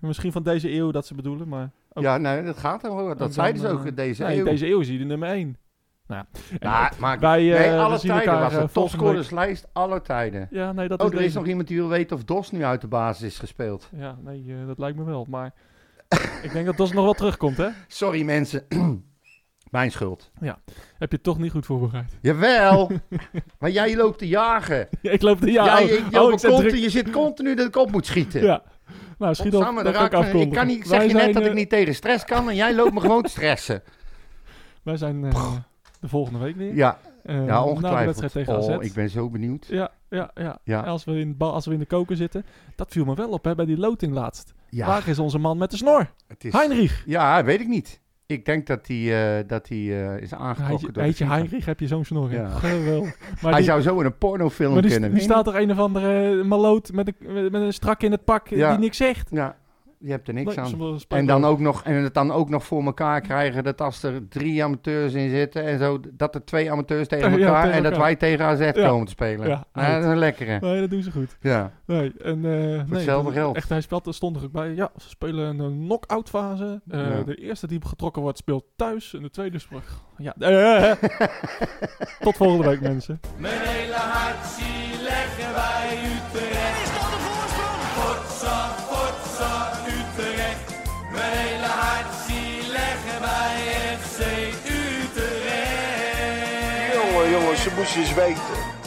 Misschien van deze eeuw dat ze bedoelen, maar... Ook- Ja, nee, dat gaat er wel. Oh. dan, Dat zeiden ze eh, ook in deze nee, eeuw. deze eeuw is hij de nummer 1. Nou, en Nou, maar wij, eh, nee, we alle zien tijden elkaar, was eh, het. volgende Topscorerslijst, alle tijden. week. Ja, nee, dat Oh, is er is deze. nog iemand die wil weten of Dos nu uit de basis is gespeeld. Ja, nee, eh, dat lijkt me wel, maar... ik denk dat dat nog wel terugkomt, hè? Sorry mensen, mijn schuld. Heb je het toch niet goed voorbereid. Jawel, maar jij loopt te jagen. ik loop de... Ja, jij, oh, je, oh, je, ik zit continu, druk. je zit continu dat ik op moet schieten. Ja. Nou, schiet op, Godsamme, dat daar kan ik raak ik me- afkondigen. ik kan niet, ik zeg Wij je net zijn, dat ik eh, niet tegen stress kan en jij loopt me gewoon te stressen. Wij zijn eh, de volgende week weer. Ja, Eh, ja Na de ongetwijfeld. wedstrijd tegen AZ. oh, ik ben zo benieuwd. Ja, ja, ja. Ja. En Als, we in, ba- als we in de koker zitten. Dat viel me wel op hè, bij die loting laatst. Ja, Waar is onze man met de snor? het is... Heinrich. Ja, weet ik niet. Ik denk dat hij eh, dat hij eh, is aangekocht Heet je, door de heet je FIFA. Heinrich, heb je zo'n snor. hè? Ja. Geweldig. Maar Hij die, zou zo in een pornofilm maar die, kunnen. die staat er een of andere eh, maloot met een, met een strak in het pak eh, Ja. die niks zegt. Ja, je hebt er niks Nee, aan. soms- En dan, ook nog, en het dan ook nog voor elkaar krijgen dat als er drie amateurs in zitten en zo, dat er twee amateurs tegen Ja, elkaar tegen en dat elkaar. wij tegen AZ Ja. komen te spelen. Ja, Ja, uit. dat is een lekkere. Nee, dat doen ze goed. Ja. Nee, en, eh, nee, hetzelfde dat- geld. Echt, hij speelt, er stond er ook bij. Ja, ze spelen een knock-out fase. Eh, Ja. De eerste die getrokken wordt speelt thuis. En de tweede speelt... Ja, eh, eh, eh. Tot volgende week mensen. Mijn hele hart zie leggen wij Utrecht. Is dat de voorsprong? Potsa, potsa, Utrecht. Mijn hele hart zie leggen wij FC Utrecht. Jongen, jongen, ze moest je eens weten.